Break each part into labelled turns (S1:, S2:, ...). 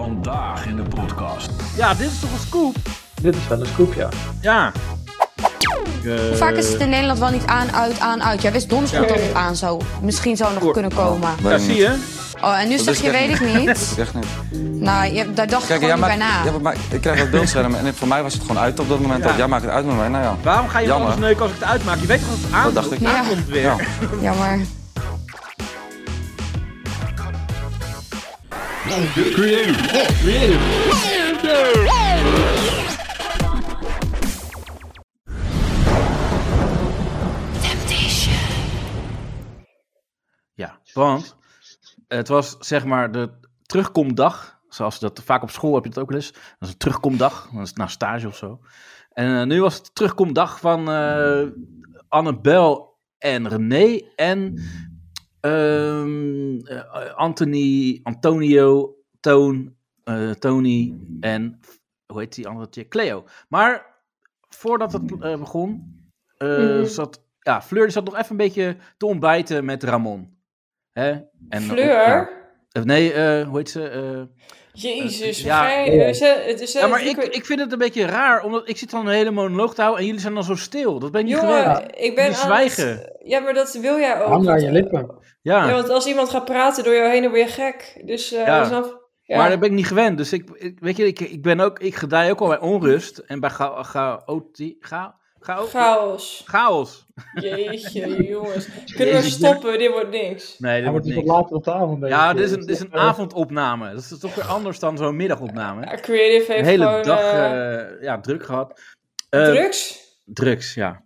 S1: Vandaag in de podcast.
S2: Ja, dit is toch een scoop?
S3: Dit is wel een scoop, ja.
S2: Ja.
S4: Hoe vaak is het in Nederland wel niet aan, uit, aan, uit? Jij wist donders goed dat het aan zou, misschien zou nog kunnen komen.
S2: Ja, zie je?
S4: Oh, en nu zeg
S5: is
S4: je,
S5: echt
S4: weet ik niet.
S5: Echt niet.
S4: Nou, je, daar dacht ik
S5: Kijk,
S4: gewoon
S5: jij
S4: niet bij
S5: maakt,
S4: na.
S5: ja, maar- maar ik krijg dat beeldscherm en voor mij was het gewoon uit op dat moment.
S2: Ja.
S5: dat Jij maakt het uit met mij, nou ja.
S2: Waarom ga je
S5: Jammer.
S2: alles neuken als ik het uitmaak? Je weet toch dat het aankomt,
S5: dacht ik.
S4: Ja.
S2: aankomt weer?
S5: Ja.
S4: Jammer.
S2: Ja, want het was zeg maar de terugkomdag. Zoals dat vaak op school heb je het ook wel eens. Dat is een terugkomdag. Dat is na stage of zo. En eh, nu was het de terugkomdag van eh Annabel en René en ehm, eh, Anthony, Antonio, Toon, eh, Tony en hoe heet die andere chick? Cleo. Maar voordat het eh, begon, eh, zat, ja, Fleur die zat nog even een beetje te ontbijten met Ramon. Hè? En,
S6: Fleur?
S2: Eh, nee, eh, hoe heet ze? Eh,
S6: Jezus,
S2: Ja.
S6: jij,
S3: Oh.
S6: eh, ze- het is
S2: ja, maar ik, ik vind het een beetje raar, omdat ik zit dan een hele monoloog te houden en jullie zijn dan zo stil. Dat ben ik niet gewend.
S6: Jongen, ik ben
S2: Jullie
S6: aan het-
S2: zwijgen.
S6: ja, maar dat wil jij ook.
S3: Hang aan je lippen.
S2: Ja,
S6: Ja, want als iemand gaat praten door jou heen, dan word je gek. Dus eh,
S2: Ja.
S6: snap ja.
S2: maar dat ben ik niet gewend. Dus ik, ik- weet je, ik, ik ben ook, ik gedij ook al bij onrust en bij cha- chaotie- cha- chao-
S6: Chaos.
S2: chaos.
S6: Jeetje, jongens. Kunnen we
S2: Jezus,
S6: stoppen? Dit wordt niks.
S2: Nee,
S3: Hij
S2: dat wordt
S3: wordt dus wat
S2: niks.
S3: later op de avond. denk
S2: Ja,
S3: ik.
S2: dit is een, dit is een
S3: Eh,
S2: avondopname. Dat is toch weer anders dan zo'n middagopname.
S6: Ja, creative
S2: Een
S6: heeft
S2: hele
S6: gewoon
S2: dag
S6: eh,
S2: eh, ja, druk gehad. Eh,
S6: drugs.
S2: Drugs, ja.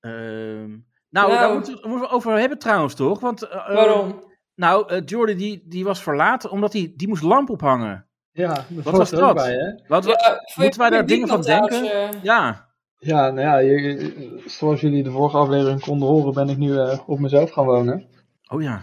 S2: Ehm, nou, daar
S6: Nou.
S2: moeten we, moeten we over hebben trouwens, toch? Want, eh, eh,
S6: Waarom?
S2: Nou, eh, Jordi die, die was verlaten omdat hij die, die moest lamp ophangen.
S3: Ja, dat
S2: Wat
S3: hoort
S2: was
S3: er ook
S2: dat?
S3: bij, hè?
S2: Wat,
S6: Ja,
S2: wat-
S6: vond je-
S2: moeten wij daar
S6: vond je
S2: dingen van
S6: diep dat
S2: denken?
S6: trouwens, eh?
S2: ja,
S3: Ja, nou ja, je- zoals jullie de vorige aflevering konden horen, ben ik nu eh, op mezelf gaan wonen.
S2: oh ja.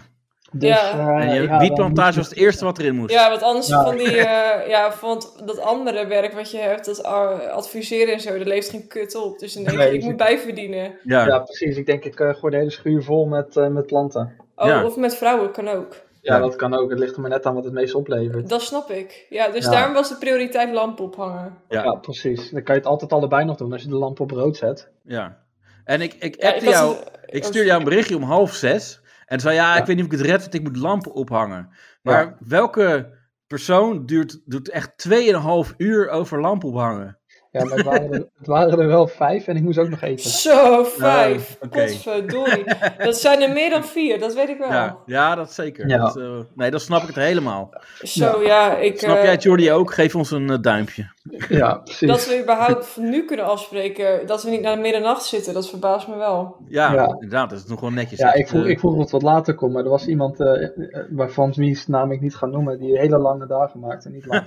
S3: Dus,
S6: Ja.
S3: eh,
S2: En je
S3: ja, dan moet
S2: wietplantage
S3: je-
S2: was het eerste wat erin moest.
S6: Ja, want anders
S3: Ja.
S6: van die, eh, ja, van t- dat andere werk wat je hebt, dat a- adviseren en zo, dat levert geen kut op. Dus dan denk
S3: Nee,
S6: je, ik
S3: dus-
S6: moet bijverdienen.
S2: Ja.
S3: Ja, precies. Ik denk, ik eh, gooi de hele schuur vol met, eh, met planten.
S6: Oh,
S2: Ja.
S6: Of met vrouwen kan ook.
S3: Ja,
S2: Ja.
S3: dat kan ook. Het ligt er maar net aan wat het meest oplevert.
S6: Dat snap ik. Ja, dus
S3: Ja.
S6: daarom was de prioriteit lamp ophangen.
S2: Ja.
S3: Ja. precies. Dan kan je het altijd allebei nog doen als je de lamp op rood zet.
S2: ja. En ik, ik
S6: Ja,
S2: appte
S6: was-
S2: jou, ik stuur jou een berichtje om half zes. En zei, ja, ik
S3: Ja.
S2: weet niet of ik het red, want ik moet lampen ophangen. Maar welke persoon duurt, doet echt 2,5 uur over lampen ophangen?
S3: Ja, maar het waren, er, het waren er wel vijf en ik moest ook nog eten.
S6: Oh, Zo, vijf.
S2: Oh, oké.
S6: Potverdorie. dat zijn er meer dan vier, dat weet ik wel.
S2: Ja, ja dat zeker.
S3: Ja.
S2: Dat, eh, nee, dan snap ik het helemaal.
S6: Zo, ja, ik...
S2: Snap
S6: eh,
S2: jij het, Jordi, ook? Geef ons een eh, duimpje.
S3: Ja, precies.
S6: dat we überhaupt nu kunnen afspreken dat we niet naar middernacht zitten, dat verbaast me wel.
S2: Ja,
S3: Ja.
S2: inderdaad, dat is nog wel netjes.
S3: Ja,
S2: Echt,
S3: ik vroeg,
S2: eh,
S3: ik vroeg of het wat later kon, maar er was iemand eh, eh, waarvan wiens naam ik niet ga noemen, die hele lange dagen maakte. Niet lang.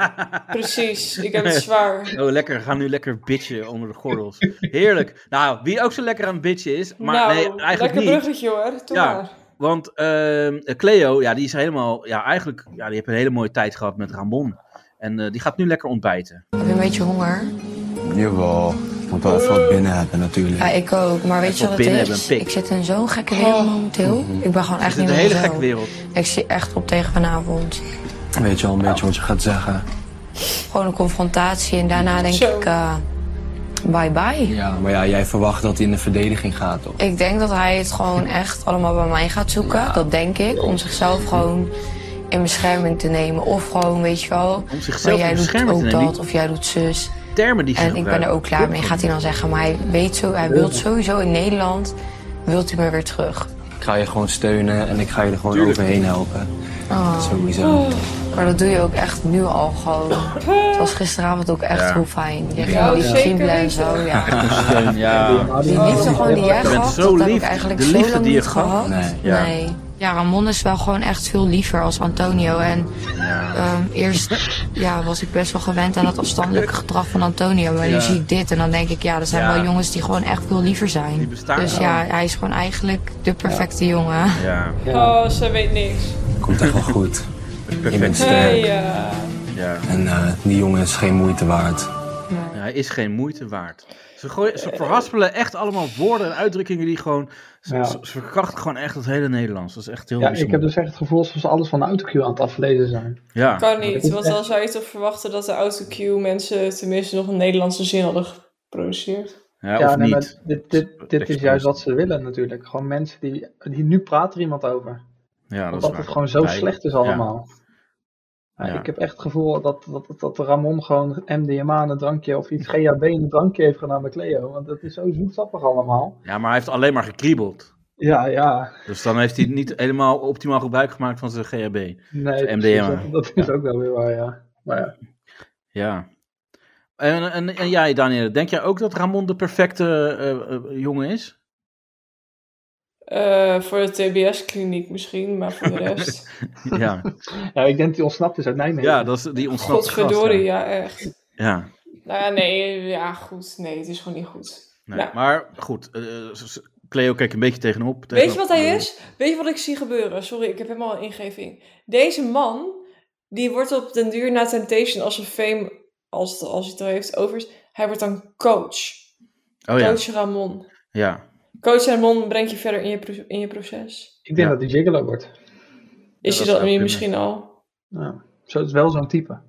S6: Precies, ik heb het zwaar.
S2: Oh, lekker. We gaan nu lekker bitchen onder de gordels. Heerlijk. Nou, wie ook zo lekker aan het bitchen is, maar
S6: nou,
S2: nee, eigenlijk
S6: lekker
S2: niet.
S6: bruggetje hoor, doe
S2: Ja.
S6: maar.
S2: Want ehm, Cleo, ja, die is helemaal, ja, eigenlijk, ja, die heeft een hele mooie tijd gehad met Ramon. En eh, die gaat nu lekker ontbijten.
S4: Heb je een beetje honger?
S5: Jawel, ik moet wel even wat binnen hebben natuurlijk.
S4: Ja, ik ook. Maar weet
S2: wil
S4: je wat het
S2: binnen hebben,
S4: is?
S2: een pik.
S4: Ik zit in zo'n gekke wereld momenteel. Ik ben gewoon
S2: Het
S4: echt
S2: is
S4: niet
S2: een
S4: meer
S2: hele
S4: mezelf.
S2: gekke wereld.
S4: Ik zie echt op tegen vanavond.
S5: Weet je al een beetje wat je gaat zeggen?
S4: Gewoon een confrontatie en daarna denk
S6: Zo.
S4: ik... eh, bye bye.
S5: Ja, maar ja, jij verwacht dat hij in de verdediging gaat toch?
S4: Ik denk dat hij het gewoon echt allemaal bij mij gaat zoeken. Dat denk ik. Om zichzelf gewoon in bescherming te nemen. Of gewoon, weet je wel...
S2: Om zichzelf
S4: maar
S2: in
S4: jij
S2: bescherming te
S4: doet
S2: nemen.
S4: ook dat of jij doet zus.
S2: Termen die ze
S4: En ik ben er
S2: gebruiken.
S4: ook klaar mee, gaat hij dan zeggen. Maar hij weet zo, hij wil sowieso in Nederland, wilt hij me weer terug.
S5: Ik ga je gewoon steunen en ik ga je er gewoon overheen helpen. Sowieso.
S4: Oh. Maar dat doe je ook echt nu al gewoon. Het was gisteravond ook echt heel fijn. Je ging al die
S6: Ja.
S4: kriebelen en
S6: Zeker
S4: zo, ja.
S2: Steun, ja.
S3: Maar
S4: Ah,
S5: Oh.
S4: Die
S3: man-
S4: liefde gewoon die jij
S2: bent
S4: gehad,
S2: zo
S4: dat heb ik
S2: lief.
S4: eigenlijk
S2: De
S4: zo
S2: liefde
S4: lang
S2: die je
S4: niet
S2: gehad.
S4: gehad.
S5: Nee.
S2: Ja.
S4: Nee. Ja, Ramon is wel gewoon echt veel liever als Antonio. En ehm, eerst ja, was ik best wel gewend aan het afstandelijke gedrag van Antonio. Maar
S2: Ja.
S4: nu zie ik dit en dan denk ik, ja, er zijn
S2: Ja.
S4: wel jongens die gewoon echt veel liever zijn.
S2: Die bestaan
S4: dus
S2: wel.
S4: ja, hij is gewoon eigenlijk de perfecte jongen.
S2: Ja,
S6: Oh, ze weet niks.
S5: Komt echt wel goed. Je bent
S6: Hey,
S5: sterk.
S6: eh,
S2: ja.
S5: En eh, die jongen is geen moeite waard.
S2: Ja, Hij is geen moeite waard. Ze, gooien, ze verhaspelen echt allemaal woorden en uitdrukkingen die gewoon... Ze,
S3: Ja.
S2: ze- ze verkrachten gewoon echt het hele Nederlands. Dat is echt heel
S3: Ja, ik
S2: bijzonder.
S3: heb dus echt het gevoel alsof ze alles van de autocue aan het aflezen zijn.
S2: Ja.
S6: Kan niet,
S3: is
S6: want
S3: echt-
S6: dan zou je toch verwachten dat de autocue mensen tenminste nog een Nederlandse zin hadden geproduceerd.
S2: Ja, of
S3: nee, maar
S2: niet.
S3: dit, dit, dit is
S2: Excuus.
S3: juist wat ze willen natuurlijk. Gewoon mensen die... die nu praat er iemand over.
S2: Ja, dat is
S3: Omdat
S2: waar.
S3: het gewoon zo
S2: Wij-
S3: slecht is
S2: ja.
S3: allemaal. Ja,
S2: Ja.
S3: Ik heb echt het gevoel dat, dat, dat, dat Ramon gewoon MDMA in een drankje of iets GHB in een drankje heeft gedaan bij Cleo. Want het is zo zoetsappig allemaal.
S2: Ja, maar hij heeft alleen maar gekriebeld.
S3: Ja, ja.
S2: Dus dan heeft hij niet helemaal optimaal gebruik gemaakt van zijn GHB.
S3: Nee,
S2: MDMA.
S3: precies, dat, dat is ook wel weer waar, ja. Maar ja.
S2: Ja. En, en, en jij, Daniel, denk jij ook dat Ramon de perfecte eh, eh, jongen is?
S6: Eh, voor de TBS-kliniek misschien, maar voor de rest.
S2: Ja,
S3: ja, ik denk dat hij ontsnapt is uit Nijmegen.
S2: ja dat is die ontsnapte gast,
S6: Godverdorie,
S2: ja.
S6: ja, echt.
S2: Ja.
S6: Nou ja, nee, ja, goed. Nee, het is gewoon niet goed.
S2: Nee,
S6: Nou.
S2: Maar goed, eh, s- s- Cleo kijkt een beetje tegenop.
S6: Weet je
S2: tegenop-
S6: wat hij is? Weet je wat ik zie gebeuren? Sorry, ik heb helemaal een ingeving. Deze man, die wordt op den duur na Temptation als een fame, als, het, als hij het al heeft over, is, hij wordt dan coach.
S2: Oh ja,
S6: Coach Ramon.
S2: ja.
S6: Coach Ramon brengt je verder in je, pro- in je proces.
S3: Ik denk
S2: Ja.
S3: dat hij Gigolo wordt.
S6: Is
S2: dat
S6: hij dat
S2: zou
S6: nu
S2: kunnen.
S6: misschien al?
S3: Ja. Zo, het is wel zo'n type.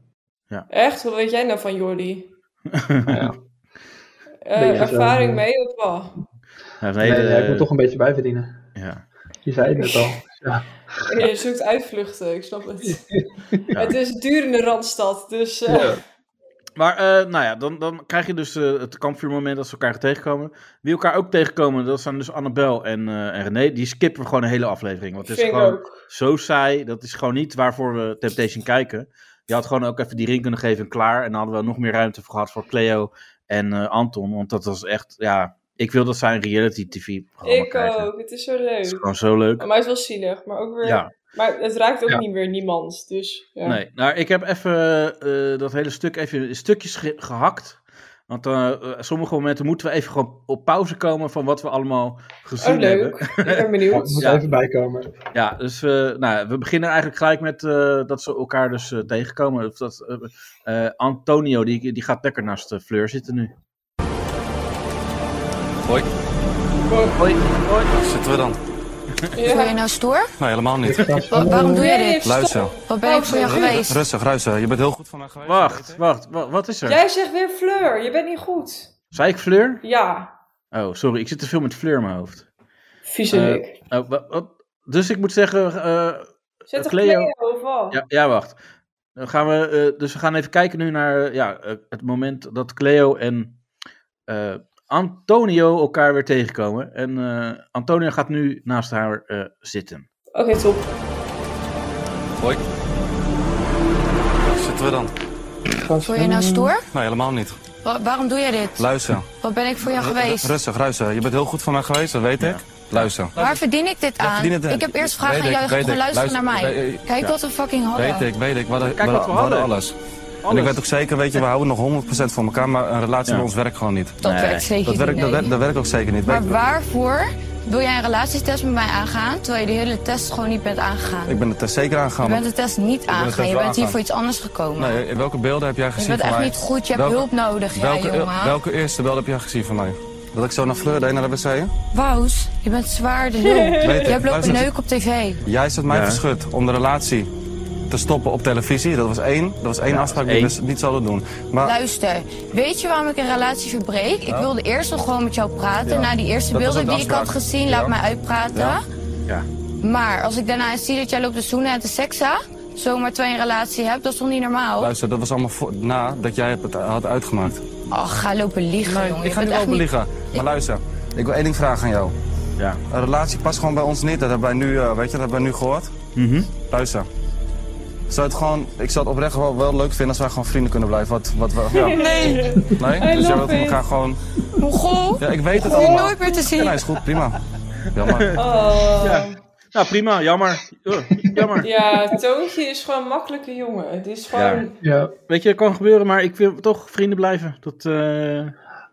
S6: Echt? Wat weet jij nou van Jordi?
S3: Ja.
S6: Eh,
S3: Beetje zo,
S6: ervaring
S3: eh,
S6: mee of wat?
S2: Hij heeft een
S3: Nee,
S2: hele...
S3: hij moet toch een beetje bijverdienen.
S2: ja.
S3: Je zei het net al.
S6: Je zoekt uitvluchten, ik snap het. Het is duur in de Randstad, dus... eh,
S2: Maar eh, nou ja, dan, dan krijg je dus eh, het kampvuurmoment dat ze elkaar gaan tegenkomen. Wie elkaar ook tegenkomen, dat zijn dus Annabel en, eh, en René. Die skippen we gewoon een hele aflevering. Want het is
S6: Vind ik
S2: gewoon
S6: ook.
S2: zo saai. Dat is gewoon niet waarvoor we Temptation kijken. Je had gewoon ook even die ring kunnen geven en klaar. En dan hadden we nog meer ruimte voor gehad voor Cleo en eh, Anton. Want dat was echt, ja... Ik wil dat zij een reality tv programma
S6: Ik
S2: krijgen.
S6: ook, het is zo
S2: Het is
S6: leuk.
S2: gewoon zo leuk.
S6: Maar hij is wel zielig, maar ook weer...
S2: Ja.
S6: Maar het raakt ook
S3: Ja.
S6: niet meer niemand, dus... Ja.
S2: Nee, nou, ik heb even eh, dat hele stuk even in stukjes ge- gehakt. Want eh, eh, sommige momenten moeten we even gewoon op pauze komen van wat we allemaal gezien
S6: Oh, leuk.
S2: hebben.
S6: Ik ben
S3: Ja, het
S6: benieuwd.
S3: moet
S2: Ja.
S3: even bijkomen.
S2: Ja, dus eh, nou, ja, we beginnen eigenlijk gelijk met eh, dat ze elkaar dus eh, tegenkomen. Of Dat, eh, eh, Antonio, die, die gaat lekker naast de Fleur zitten nu.
S5: Hoi, zitten we dan?
S4: Voel je
S6: Ja.
S4: nou stoer?
S5: Nee, helemaal niet.
S4: Wa- waarom doe je
S6: Nee,
S4: dit?
S6: stop.
S5: Luister.
S4: Wat ben ik voor jou geweest?
S5: Rustig, rustig. Je bent heel goed voor mij geweest.
S2: Wacht, wacht, wa- wat is er?
S6: Jij zegt weer Fleur, je bent niet goed.
S2: Zei ik Fleur?
S6: Ja,
S2: Oh, sorry, ik zit te veel met Fleur in mijn hoofd.
S6: viezerik.
S2: Oh, wa- wat? Dus ik moet zeggen, eh,
S6: Zet een
S2: Cleo-
S6: Cleo of wat?
S2: Ja, ja wacht. Dan gaan we, eh, dus we gaan even kijken nu naar eh, ja, eh, het moment dat Cleo en eh, Antonio elkaar weer tegenkomen. En eh, Antonio gaat nu naast haar eh, zitten.
S6: Oké, top.
S5: Hoi. Zitten we dan?
S4: Voel je
S5: Mm.
S4: nou stoer?
S5: Nee, helemaal niet.
S4: Wa- waarom doe je dit?
S5: Luister.
S4: Wat ben ik voor jou
S5: Ru-
S4: geweest?
S5: Rustig, rustig. Je bent heel goed voor mij geweest, dat weet ik. Luister.
S4: Waar verdien ik dit aan?
S5: verdien het, eh,
S4: Ik heb eerst vragen
S5: weet
S4: aan jou,
S5: ik,
S4: je gaat
S5: weet
S4: gewoon
S5: ik,
S4: luisteren naar
S5: luister,
S4: mij.
S5: weet ik,
S4: Kijk wat we fucking hadden.
S5: Weet ik, weet ik. We hadden,
S2: Kijk wat we hadden.
S5: alles. En ik weet ook zeker, weet je, we houden nog 100% van elkaar, maar een relatie
S2: Ja.
S5: met ons werkt gewoon niet.
S4: Dat
S2: Nee.
S4: werkt zeker
S5: Dat werkt,
S4: niet.
S5: dat,
S4: nee.
S5: werkt, dat werkt ook zeker niet.
S4: Maar
S5: Weet-
S4: waarvoor wil jij een relatietest met mij aangaan, terwijl je de hele test gewoon niet bent aangegaan?
S5: Ik ben het er zeker
S4: je
S5: aangegaan.
S4: bent de test niet aangegaan,
S5: test
S4: je bent
S5: wel
S4: hier
S5: aangegaan.
S4: voor iets anders gekomen.
S5: Nee, eh, welke beelden heb jij
S4: je
S5: gezien
S4: bent
S5: van
S4: echt
S5: mij?
S4: niet goed, je hebt
S5: Welke-
S4: hulp nodig, ja,
S5: welke, e-
S4: jongen.
S5: welke eerste beeld heb jij gezien van mij? Dat ik zo naar Fleur deed naar de wc?
S4: Wous, je bent zwaar de nul.
S5: Weet ik.
S4: Je hebt lopen
S5: Luister.
S4: neuk op tv.
S5: Jij zat mij
S2: Ja.
S5: verschut om de relatie te stoppen op televisie. Dat was één, dat was één afspraak die
S2: één.
S5: we s- niet zouden doen. Maar
S4: Luister, weet je waarom ik een relatie verbreek? Ik wilde eerst nog gewoon met jou praten. Na die eerste
S5: Dat was
S4: beelden
S5: ook
S4: die
S5: de
S4: ik had
S5: afspraak.
S4: gezien,
S5: Ja.
S4: laat mij uitpraten.
S5: Ja.
S2: Ja.
S4: Maar als ik daarna eens zie dat jij loopt te zoenen en te seksen, zomaar twee een relatie hebt, dat is toch niet normaal?
S5: luister, dat was allemaal voor, na dat jij het had uitgemaakt.
S4: Ach, ga lopen liegen, jongen.
S5: ik
S4: Je
S5: ga
S4: bent
S5: niet
S4: echt
S5: open liggen. Maar luister, ik wil één ding vragen aan jou.
S2: Ja.
S5: Een relatie past gewoon bij ons niet. Dat hebben wij nu, eh, weet je, dat hebben wij nu gehoord.
S2: Mhm.
S5: Luister. Zou het gewoon, ik zou het oprecht wel, wel leuk vinden als wij gewoon vrienden kunnen blijven. Wat, wat, we- ja. Nee?
S4: Nee,
S5: Dus jij wilt
S6: love it.
S5: elkaar gewoon...
S4: Mongool.
S5: Ja, ik weet het
S4: Je
S5: allemaal.
S4: nooit meer te
S5: Ja, nee,
S4: zien.
S5: is goed, prima. Jammer.
S6: Oh.
S2: Nou, prima, jammer. Oh, jammer.
S6: Ja, Toontje is gewoon een makkelijke jongen. Het is gewoon...
S3: Ja.
S2: Weet je, dat kan gebeuren, maar ik wil toch vrienden blijven. Dat, eh,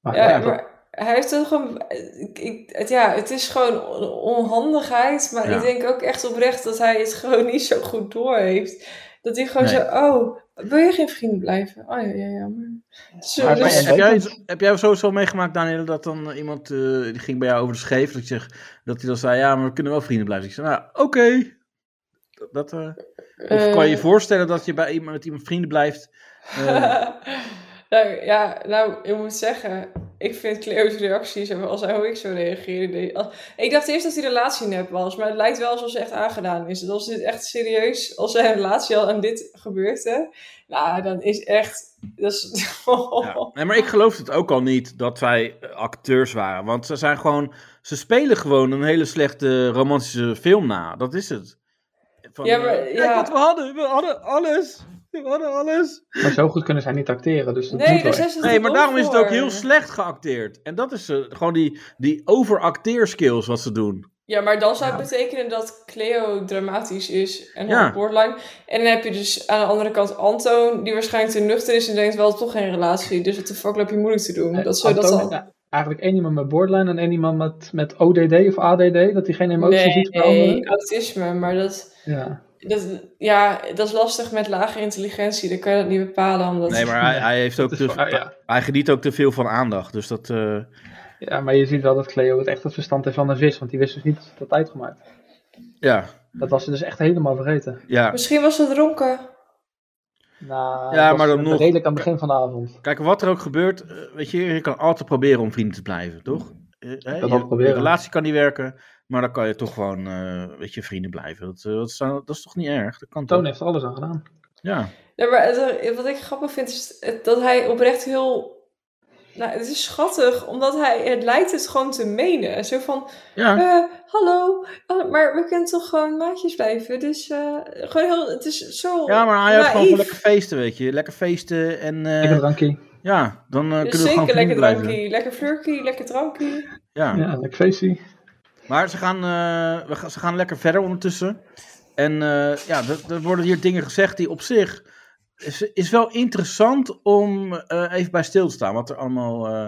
S3: Maar,
S6: Ja,
S3: ja,
S6: maar hij heeft toch gewoon... Ik, ik- het, ja, het is gewoon on- onhandigheid. Maar
S2: Ja.
S6: ik denk ook echt oprecht dat hij het gewoon niet zo goed door heeft. Dat hij gewoon
S2: Nee.
S6: zo... Oh, Wil je geen vrienden blijven? Oh ja, ja, ja. Maar... Zo,
S3: Maar-
S2: Maar
S6: dus-
S3: Ja,
S2: heb, jij,
S3: zeker.
S2: iets- heb jij sowieso meegemaakt, Daniel, dat dan eh, iemand eh, die ging bij jou over de scheef, dat, je, zegt- dat hij dan zei, ja, maar we kunnen wel vrienden blijven. Ik zei, nou, oké. Dat- Dat, eh, of kan je je
S6: Eh,
S2: voorstellen dat je bij iemand, met iemand vrienden blijft? Eh,
S6: nou ja, nou, ik moet zeggen, ik vind Cleo's reacties en als hij hoe ik zou reageren. deed- als- Ik dacht eerst dat die relatie nep was, maar het lijkt wel alsof ze echt aangedaan is. Dus als dit echt serieus, als zij een relatie al en dit gebeurt, hè, nou, dan is echt. Dat is,
S2: ja. Nee, maar ik geloof het ook al niet dat zij eh, acteurs waren. Want ze zijn gewoon, ze spelen gewoon een hele slechte romantische film na. Dat is het. Van,
S6: Ja, maar-
S2: eh, Kijk
S6: ja.
S2: wat we hadden. We hadden alles. We hadden alles.
S3: Maar zo goed kunnen zij niet acteren, dus dat
S6: Nee,
S3: moet
S6: daar
S3: wel.
S6: zijn ze
S2: Nee,
S6: te
S2: maar
S6: dom
S2: daarom is het ook
S6: voor.
S2: heel slecht geacteerd. En dat is eh, gewoon die, die overacteerskills wat ze doen.
S6: Ja, maar dan zou het betekenen dat Cleo dramatisch is en
S2: Ja.
S6: ja. borderline. En dan heb je dus aan de andere kant Antoon, die waarschijnlijk te nuchter is en denkt wel toch geen relatie. Dus wat de fuck loop je moeilijk te doen?
S3: Eh,
S6: dat zou dat
S3: Antoon-
S6: dan.
S3: ja, Eigenlijk één iemand met borderline en één iemand met, met ODD of ADD, dat hij geen emotie ziet van
S6: Nee,
S3: anderen.
S6: autisme, maar dat,
S3: Ja.
S6: dat, ja, dat is lastig met lage intelligentie. Dan kan je dat niet bepalen. Omdat...
S2: Nee, maar hij, hij, heeft ook
S3: Dus,
S2: te,
S3: ah, ja.
S2: hij geniet ook te veel van aandacht. Dus dat. eh,
S3: ja, maar je ziet wel dat Cleo het echt het verstand heeft van een vis, want die wist dus niet dat uitgemaakt.
S2: ja,
S3: Dat was ze dus echt helemaal vergeten.
S2: ja.
S6: Misschien was ze dronken.
S3: Nou,
S2: Ja,
S3: dat
S2: maar
S3: was
S2: dan nog-
S3: Redelijk aan het begin van de avond.
S2: Kijk, wat er ook gebeurt, eh, weet je, je kan altijd proberen om vrienden te blijven, toch? Eh, hè,
S3: kan
S2: je,
S3: proberen.
S2: je relatie kan niet werken, maar dan kan je toch gewoon, eh, weet je, vrienden blijven. Dat, eh, dat, is, dat is toch niet erg? Dat kan toch?
S3: Toon heeft er alles aan gedaan.
S2: Ja.
S6: Nee, maar het- wat ik grappig vind is het- dat hij oprecht heel. Nou, het is schattig, omdat hij het lijkt het gewoon te menen. Zo van,
S2: ja.
S6: Eh, hallo, Eh, maar we kunnen toch gewoon maatjes blijven? Dus eh, gewoon heel, het is zo.
S2: Ja, maar hij had gewoon
S6: naïef.
S2: voor lekker feesten, weet je. Lekker feesten en eh,
S3: Lekker drankje.
S2: ja, dan eh,
S6: Dus
S2: kunnen we gewoon
S6: zeker
S2: vrienden
S6: lekker
S2: blijven.
S6: drankie, lekker flirkie, lekker drankie.
S2: Ja.
S3: Ja, lekker feestje.
S2: Maar ze gaan, eh, we gaan, ze gaan lekker verder ondertussen. En eh, ja, er, er worden hier dingen gezegd die op zich... Is, is wel interessant om eh, even bij stil te staan. Wat er allemaal... eh,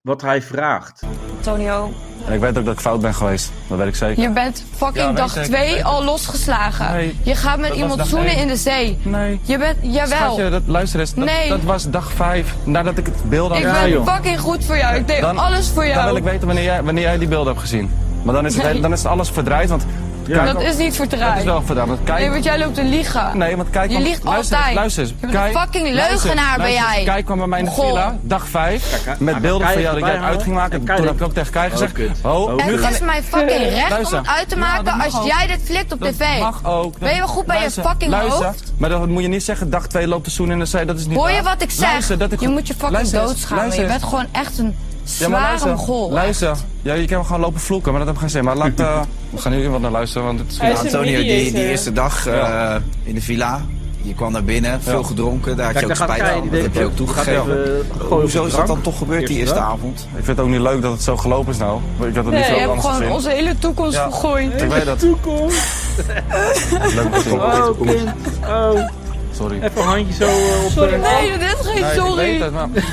S2: wat hij vraagt.
S4: Antonio,
S5: En ik weet ook dat ik fout ben geweest. Dat weet ik zeker.
S4: je bent fucking
S5: Ja, weet
S4: dag
S5: ik, weet
S4: 2
S5: ik.
S4: al losgeslagen.
S5: Nee,
S4: je gaat met
S5: dat
S4: iemand
S5: was dag
S4: zoenen
S5: één.
S4: in de zee.
S5: Nee.
S4: Je bent, jawel.
S5: Schatje, dat, luister eens. Dat,
S4: Nee.
S5: dat was dag vijf. Nadat ik het beeld had
S4: ik
S2: Ja,
S4: ben
S2: joh.
S4: fucking goed voor jou. Ik deed
S5: Dan-
S4: alles voor
S5: Dan
S4: jou.
S5: wil ik weten wanneer jij, wanneer jij die beelden hebt gezien. Maar dan is, het,
S4: Nee.
S5: dan is alles verdraaid. Want
S2: Ja.
S5: kijk,
S4: dat is niet verdraaid.
S5: dat is wel verdraaid. Want kijk,
S4: Nee, want jij loopt te liegen.
S5: Nee, want kijk...
S4: Je
S5: want-
S4: liegt
S5: luister,
S4: altijd.
S5: Luister eens.
S4: Je bent een
S5: Kijk-
S4: fucking
S5: luister,
S4: leugenaar ben
S5: luister eens.
S4: jij.
S5: Kijk kwam bij mij in de
S4: Goh.
S5: villa, dag 5.
S2: Kijk,
S5: met
S2: ah,
S5: beelden
S2: Kai
S5: van jou
S2: erbij
S5: dat jij het
S2: halen.
S5: uit ging maken.
S2: En Kai
S5: Toen heb
S2: denkt-
S5: ik ook tegen Kai gezegd...
S2: kut.
S5: Oh,
S2: Oh,
S5: nu
S2: kut.
S4: Het
S5: gaan
S4: is
S5: we-
S4: mijn fucking recht
S5: Luister.
S4: om het uit te
S5: Ja,
S4: maken
S5: dat mag
S4: als
S5: ook.
S4: jij dit flikt op
S5: Dat
S4: tv.
S5: mag ook.
S4: Ben je wel goed bij je fucking
S5: luister,
S4: hoofd?
S5: Maar dat moet je niet zeggen, dag 2 loopt de zoen in de zee. Dat is niet
S4: Hoor je
S5: waar.
S4: wat ik zeg?
S5: Luister, dat ik
S4: je
S5: goed-
S4: moet je fucking
S5: Luister eens,
S4: doodschamen.
S5: luister
S4: Je
S5: eens.
S4: bent gewoon echt een
S5: Ja, maar
S4: zware
S5: luister,
S4: mogol.
S5: luister. Ja, je kan gewoon lopen vloeken, maar dat heb ik geen zin. Maar laat, eh, we gaan nu iemand naar luisteren, want het is
S6: Hij is een
S7: Antonio, die, die
S6: mediator.
S7: eerste dag eh, in de villa. Je kwam naar binnen, veel gedronken. Daar had
S2: Kijk,
S7: je ook
S2: daar gaat
S7: spijt
S2: Kai.
S7: van.
S2: Die
S7: Dat heb je ook toegegeven.
S2: eh,
S7: Hoezo is dat dan toch gebeurd die eerste avond?
S5: Ik vind het ook niet leuk dat het zo gelopen is nou. Ik had het
S6: Nee,
S5: niet
S4: Je
S5: zo
S6: je
S4: hebt
S5: anders
S4: gewoon
S5: gezien.
S4: onze hele toekomst
S5: Ja.
S4: vergooid.
S5: Ik weet dat.
S2: Toekomst.
S5: Leuk om te zien.
S2: Oh, kind. Oh.
S5: Sorry.
S2: Even een handje zo eh, op.
S6: Sorry,
S2: eh,
S6: man.
S4: Nee, dit is geen
S5: Nee, Ik
S4: sorry.
S5: weet het, maar, maar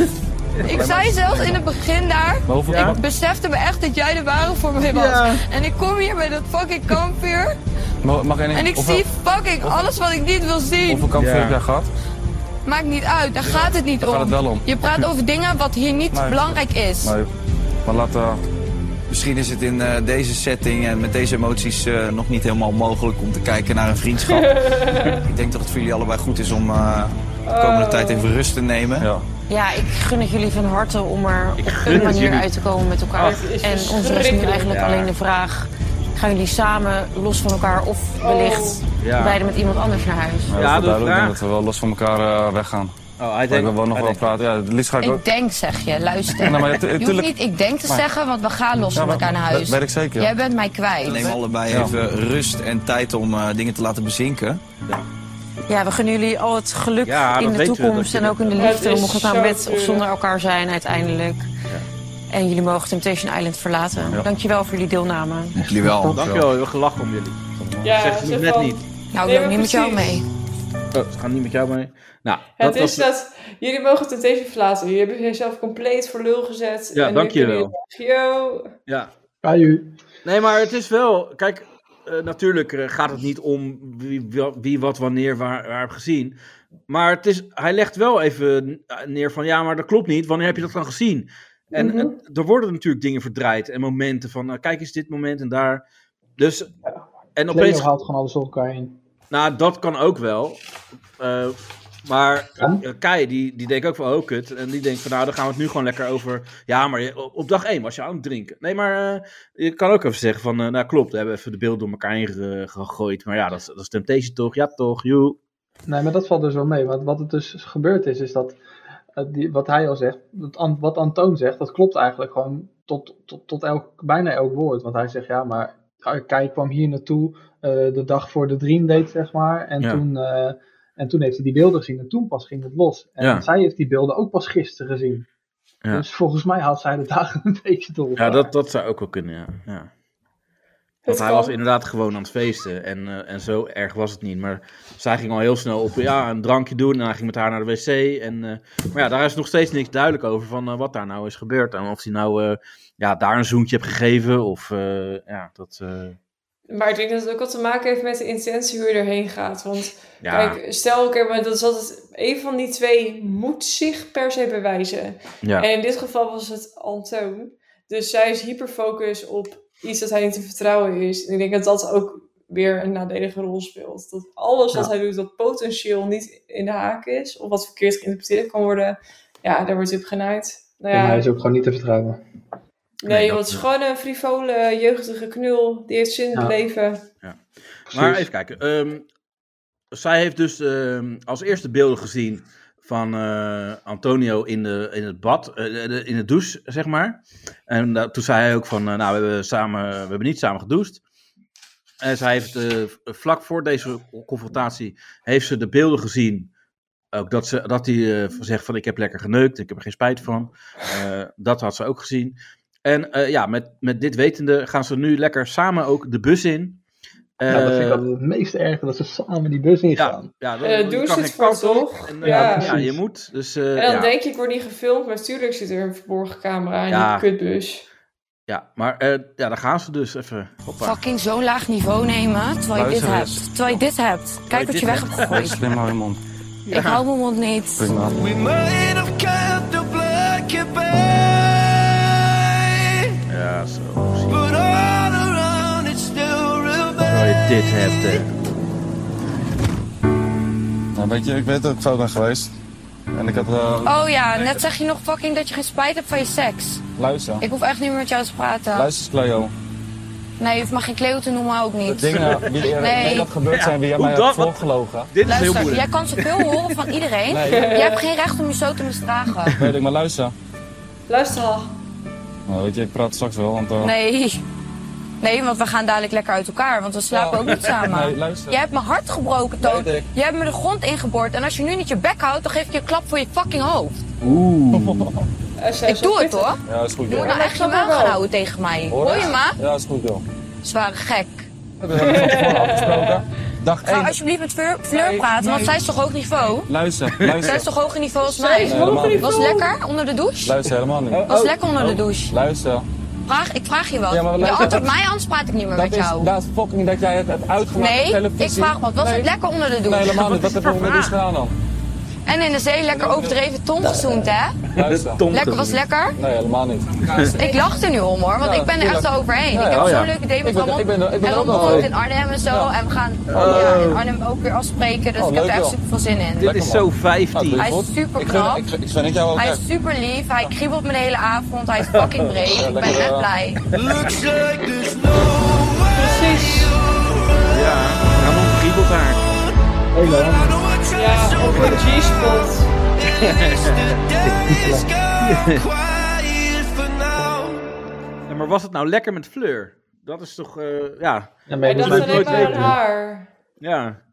S4: Ik, zei zelfs in het begin daar.
S5: hoeveel...
S2: Ja.
S5: maar-
S4: Besefte me echt dat jij de ware voor mij was.
S2: Ja.
S4: En ik kom hier bij dat fucking kampvuur.
S5: Mag, mag ik
S4: En ik
S5: hoeveel,
S4: zie fucking alles wat ik niet wil zien.
S5: Hoeveel kampvuur
S2: Ja.
S5: heb jij gehad?
S4: Maakt niet uit, daar gaat het niet
S5: daar
S4: om.
S5: gaat het wel om.
S4: Je praat over dingen wat hier niet
S5: Nee.
S4: belangrijk is.
S5: Nee. Maar laat... eh,
S7: Misschien is het in eh, deze setting en met deze emoties eh, nog niet helemaal mogelijk om te kijken naar een vriendschap. Ik denk dat het voor jullie allebei goed is om eh, de komende tijd even rust te nemen.
S5: ja.
S8: Ja, ik gun het jullie van harte om er op
S2: gun
S8: een
S2: het
S8: manier
S2: jullie.
S8: uit te komen met elkaar.
S6: Ach, het is
S8: en ons rest nu
S6: verschrikkelijk.
S8: eigenlijk
S2: Ja.
S8: alleen de vraag: gaan jullie samen los van elkaar of
S6: Oh.
S8: wellicht
S2: Ja.
S8: beide met iemand anders naar huis?
S5: Ja,
S2: Ja,
S5: dat
S2: de
S5: is wel duidelijk. Ik
S2: vraag-
S5: denk dat we wel los van elkaar eh, weggaan.
S2: Oh, hij
S5: Maar ik
S2: denkt...
S5: wil wel nog
S2: hij
S5: wel
S2: denkt-
S5: praten. Ja, het liefst ga ik ook...
S4: Ik denk, zeg je, luister.
S5: Nou, maar ja, tu-
S4: je hoeft
S5: tuurlijk-
S4: niet ik denk te
S5: Maar-
S4: zeggen, want we gaan los van
S5: maar-
S4: elkaar naar
S5: dat
S4: huis.
S5: weet ik zeker, ja.
S4: Jij bent mij kwijt.
S7: Neem allebei even rust en tijd om eh, dingen te laten bezinken.
S8: Ja, we gunnen jullie al het geluk
S2: Ja, dat
S8: in de
S2: weten we,
S8: toekomst
S2: dat
S8: en ook in de
S6: dat-
S8: liefde.
S6: Het is
S8: Mocht het aan
S6: zo
S8: met of
S6: natuurlijk.
S8: zonder elkaar zijn uiteindelijk. En jullie mogen Temptation Island verlaten. Dankjewel voor jullie deelname.
S7: Jullie wel.
S2: Dankjewel, we hebben gelachen om jullie.
S6: Ja,
S2: Zegt hij
S6: zo
S2: net
S6: van-
S2: niet.
S4: Nou,
S6: Nee,
S4: ik wil
S6: maar
S4: niet met jou
S6: precies.
S4: mee.
S2: Oh, ze gaan niet met jou mee. Nou,
S6: Het
S2: dat
S6: is
S2: was...
S6: dat jullie mogen Temptation verlaten. Jullie hebben jezelf compleet voor lul gezet.
S2: Ja,
S6: en nu
S2: dank je
S6: kunnen jullie zeggen, Yo.
S2: Ja.
S3: Kaju.
S2: Nee, maar het is wel... Kijk, eh, natuurlijk eh, gaat het niet om wie, wa- wie wat wanneer waar, waar heeft gezien. Maar het is, hij legt wel even eh, neer van ja, maar dat klopt niet. Wanneer heb je dat dan gezien? En
S6: Mhm.
S2: eh, er worden natuurlijk dingen verdraaid en momenten van nou, kijk eens dit moment en daar. Dus, en
S3: Cleo
S2: opeens,
S3: haalt gewoon alles door elkaar heen.
S2: nou dat kan ook wel. Eh, maar
S3: Ja?
S2: eh, Kai, die, die denkt ook van, oh kut. En die denkt van, nou, dan gaan we het nu gewoon lekker over... Ja, maar je- op, op dag één was je aan het drinken. Nee, maar eh, je kan ook even zeggen van, eh, nou klopt, we hebben even de beelden door elkaar heen ge- gegooid. Maar ja, dat, is- dat is Temptation toch? Ja toch, joe.
S3: Nee, maar dat valt dus wel mee. Want wat het dus gebeurd is, is dat eh, die, wat hij al zegt, dat An- wat Antoon zegt, dat klopt eigenlijk gewoon tot, tot, tot elk, bijna elk woord. Want hij zegt, ja, maar ah, Kai kwam hier naartoe eh, de dag voor de Dream Date, zeg maar. En,
S2: Ja.
S3: toen, eh, en toen heeft hij die beelden gezien en toen pas ging het los. En
S2: Ja.
S3: zij heeft die beelden ook pas gisteren gezien.
S2: Ja.
S3: Dus volgens mij haalt zij de dagen een beetje door.
S2: Ja,
S3: elkaar.
S2: dat, dat zou ook wel kunnen, ja. ja. Want
S6: Het
S2: hij
S6: kan.
S2: was inderdaad gewoon aan het feesten. En, eh, en zo erg was het niet. Maar zij ging al heel snel op ja, een drankje doen. En hij ging met haar naar de wc. En, eh, maar ja, daar is nog steeds niks duidelijk over van eh, wat daar nou is gebeurd. En of hij nou eh, ja, daar een zoentje heeft gegeven. Of eh, ja, dat. eh,
S6: Maar ik denk dat het ook wat te maken heeft met de intentie hoe je erheen gaat. Want
S2: ja,
S6: kijk, stel, oké, maar dat is altijd... Een van die twee moet zich per se bewijzen.
S2: ja,
S6: En in dit geval was het Antoon. Dus zij is hyperfocus op iets dat hij niet te vertrouwen is. En ik denk dat dat ook weer een nadelige rol speelt. Dat alles wat
S3: Ja.
S6: hij doet dat potentieel niet in de haak is... of wat verkeerd geïnterpreteerd kan worden... ja, daar wordt hij op genaaid. Nou
S3: En
S6: ja,
S3: hij is ook gewoon niet te vertrouwen.
S6: nee,
S2: Nee,
S6: want
S2: dat-
S6: het is gewoon een frivole, jeugdige knul. Die heeft zin in het
S3: Ja.
S6: leven.
S2: Maar
S3: Precies.
S2: even kijken. ehm, zij heeft dus ehm, als eerste beelden gezien van eh, Antonio in, de, in het bad, eh, de- de- in de douche, zeg maar. En da- toen zei hij ook van, eh, nou, we hebben, samen, we hebben niet samen gedoucht. En zij heeft eh, vlak voor deze confrontatie, heeft ze de beelden gezien. Ook dat, ze, dat hij eh, zegt van, ik heb lekker geneukt, ik heb er geen spijt van. Eh, dat had ze ook gezien. En eh, ja, met, met dit wetende gaan ze nu lekker samen ook de bus in.
S3: ja, dat vind ik
S2: Eh,
S3: altijd het meest erge, dat ze samen die bus ingaan.
S2: ja, ja,
S6: Eh,
S2: je
S6: doe
S2: kan
S6: ze
S2: geen
S6: het voor
S2: kant op.
S6: toch?
S2: En, eh,
S6: Ja.
S2: ja.
S3: precies.
S2: je moet. Dus, eh,
S6: En dan
S2: ja,
S6: denk je, ik word niet gefilmd, maar tuurlijk zit er een verborgen camera in
S2: Ja.
S6: die kutbus.
S2: ja, maar eh, ja, daar gaan ze dus even. Hoppa.
S8: Fucking zo'n laag niveau nemen, terwijl je dit
S5: Luister eens.
S8: hebt. Terwijl je dit hebt. Kijk wat
S2: dit
S8: je weg
S2: hebt.
S8: hebt gegooid.
S5: Slim hou je mond.
S8: Ik hou mijn mond niet.
S5: Prima.
S2: Ja, zo. precies. Terwijl je dit hebt. hè.
S5: Nou, weet je, ik weet dat ik fout ben geweest. En ik had... eh
S8: Oh ja, net zeg je nog fucking dat je geen spijt hebt van je seks.
S5: Luister.
S8: Ik hoef echt niet meer met jou te praten.
S5: Luister, eens, Cleo.
S8: Nee, je mag geen kleeuw te noemen, ook
S5: De
S8: niet.
S5: dingen die er
S8: Nee.
S5: nee. dat gebeurd zijn, wie jij
S2: hoe
S5: mij
S2: dat?
S5: hebt
S2: Wat-
S5: voorgelogen.
S2: Dit is heel
S8: Luister,
S2: moeilijk.
S8: jij kan zoveel horen van iedereen.
S5: Nee.
S8: Jij hebt geen recht om je zo te misdragen.
S5: Weet ik, maar luister.
S6: Luister eh, al.
S5: Nou, weet je, ik praat straks wel, want... eh,
S8: Nee. Nee, want we gaan dadelijk lekker uit elkaar, want we slapen
S5: Ja.
S8: ook niet samen.
S5: Oh. Nee, luister.
S8: Jij hebt mijn hart gebroken, Toon.
S5: Weet ik.
S8: Jij hebt me de grond ingeboord. En als je nu niet je bek houdt, dan geef ik je een klap voor je fucking hoofd.
S6: Eh, zij
S8: Ik
S6: is wel
S8: doe het
S6: pittig.
S8: hoor.
S5: Ja, is goed,
S8: Je
S5: joh.
S8: moet nou echt je
S6: maar
S8: maag
S6: wel.
S8: gaan houden tegen mij. Hoor je me?
S5: Ja, is goed, joh.
S8: Zware gek.
S5: We hebben het van tevoren afgesproken. Dag
S8: Ga
S5: 1.
S8: alsjeblieft met Fleur, Fleur
S6: Nee,
S8: praten, want
S6: nee.
S8: zij is toch hoog niveau?
S5: Luister,
S8: Zij is
S5: luister.
S8: toch hoger niveau als
S6: Zij is
S8: mij?
S5: Nee, helemaal
S6: hoger
S5: niet.
S8: Was lekker onder de douche?
S5: Luister helemaal niet. Oh,
S8: Was lekker onder de douche.
S5: Luister.
S8: Vraag, ik vraag je wat.
S5: Ja, maar
S8: je
S5: luister,
S8: antwoordt mij, anders praat ik niet meer
S5: Dat
S8: met
S5: is,
S8: jou.
S5: dat is fucking dat jij het hebt uitgemaakt op
S8: Nee,
S5: televisie.
S8: ik vraag wat. Was
S5: nee.
S8: het lekker onder de
S5: Nee,
S8: douche?
S5: helemaal niet. Wat
S2: Wat
S5: heb je
S2: is
S5: onder
S2: voor
S5: de gedaan dan?
S8: En in de zee lekker overdreven tong gezoend, hè?
S5: Luister.
S2: Tom
S8: Lekker was
S2: gezien.
S8: lekker.
S5: Nee, helemaal niet.
S8: Ik lach er nu om hoor, want
S5: Ja,
S8: ik ben er echt
S5: tuurlijk.
S8: al overheen. ik heb
S5: ja,
S2: oh ja.
S8: zo'n leuke date
S5: Ik
S8: met
S5: ben-
S8: Ramon.
S5: ik ben er- ik ben
S8: en
S5: er ook
S8: Ramon
S5: al
S8: woont in
S5: overheen.
S8: Arnhem en zo. En we gaan ja, in Arnhem ook weer afspreken. Dus
S5: Oh,
S8: ik heb
S5: leuk,
S8: er echt
S5: joh.
S8: super veel zin in.
S2: Dit is zo 15.
S8: Hij is super knap.
S5: Ik, gun- ik gun het jou ook
S8: Hij
S5: echt.
S8: is super lief, hij kriebelt me de hele avond, hij is fucking breed. Ik ben
S5: lekker,
S8: echt
S5: eh,
S8: blij.
S6: Precies.
S2: Ja, Ramon kriebelt haar.
S3: Hele handige.
S6: Ja, op een G-spot.
S2: Ja, maar was het nou lekker met Fleur? Dat is toch, eh, ja.
S3: Ja,
S6: En dat
S2: dat
S6: is
S2: is
S6: alleen
S2: nooit
S6: maar aan
S2: leuk.
S6: haar.
S2: ja.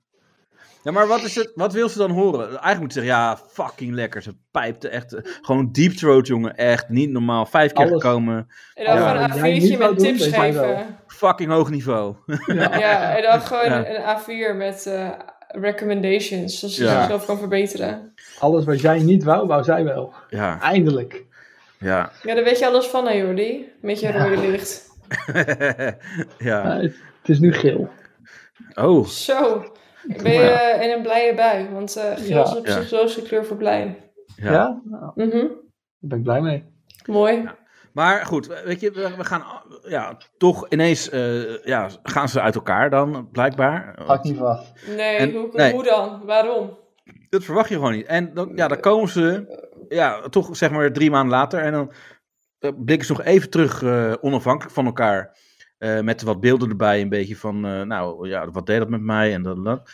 S2: Ja, maar wat, is het, wat wil ze dan horen? Eigenlijk moet ze zeggen, ja, fucking lekker. Ze pijpte echt, eh, gewoon deep throat, jongen. Echt, niet normaal. Vijf keer
S3: Alles.
S2: gekomen.
S6: En dan
S2: Ja,
S6: gewoon
S3: wat
S6: een
S3: jij niet
S6: A4'tje
S3: zou
S6: met
S3: doen,
S6: tips
S3: weet hij wel.
S6: geven.
S2: Fucking hoog niveau.
S6: Ja, en dan gewoon
S2: Ja.
S6: een A4 met eh, recommendations. Zodat je
S2: Ja.
S6: zichzelf kan verbeteren.
S3: Alles wat jij niet wou, wou zij wel.
S2: Ja,
S3: Eindelijk.
S2: ja.
S6: Ja, daar weet je alles van hè Jordi. Met je rode licht.
S2: ja.
S3: Nee, het, het is nu geel.
S2: Oh,
S6: Zo, ik ben je eh, in een blije bui. Want eh, geel
S3: Ja.
S6: is op
S2: Ja.
S6: zich zo'n kleur voor blij.
S2: ja.
S3: Ja? Nou,
S6: Mhm.
S3: daar ben ik blij mee.
S6: Mooi.
S2: Maar goed, weet je, we, we gaan ja, toch ineens eh, ja, gaan ze uit elkaar dan, blijkbaar.
S3: Had ik niet verwacht.
S6: Nee,
S2: En-
S6: hoe,
S2: nee.
S6: hoe dan? Waarom?
S2: Dat verwacht je gewoon niet. En dan, ja, dan komen ze ja, toch zeg maar drie maanden later. En dan eh, blikken ze nog even terug eh, onafhankelijk van elkaar. Eh, met wat beelden erbij, een beetje van, eh, nou ja, wat deed dat met mij en dat en dat.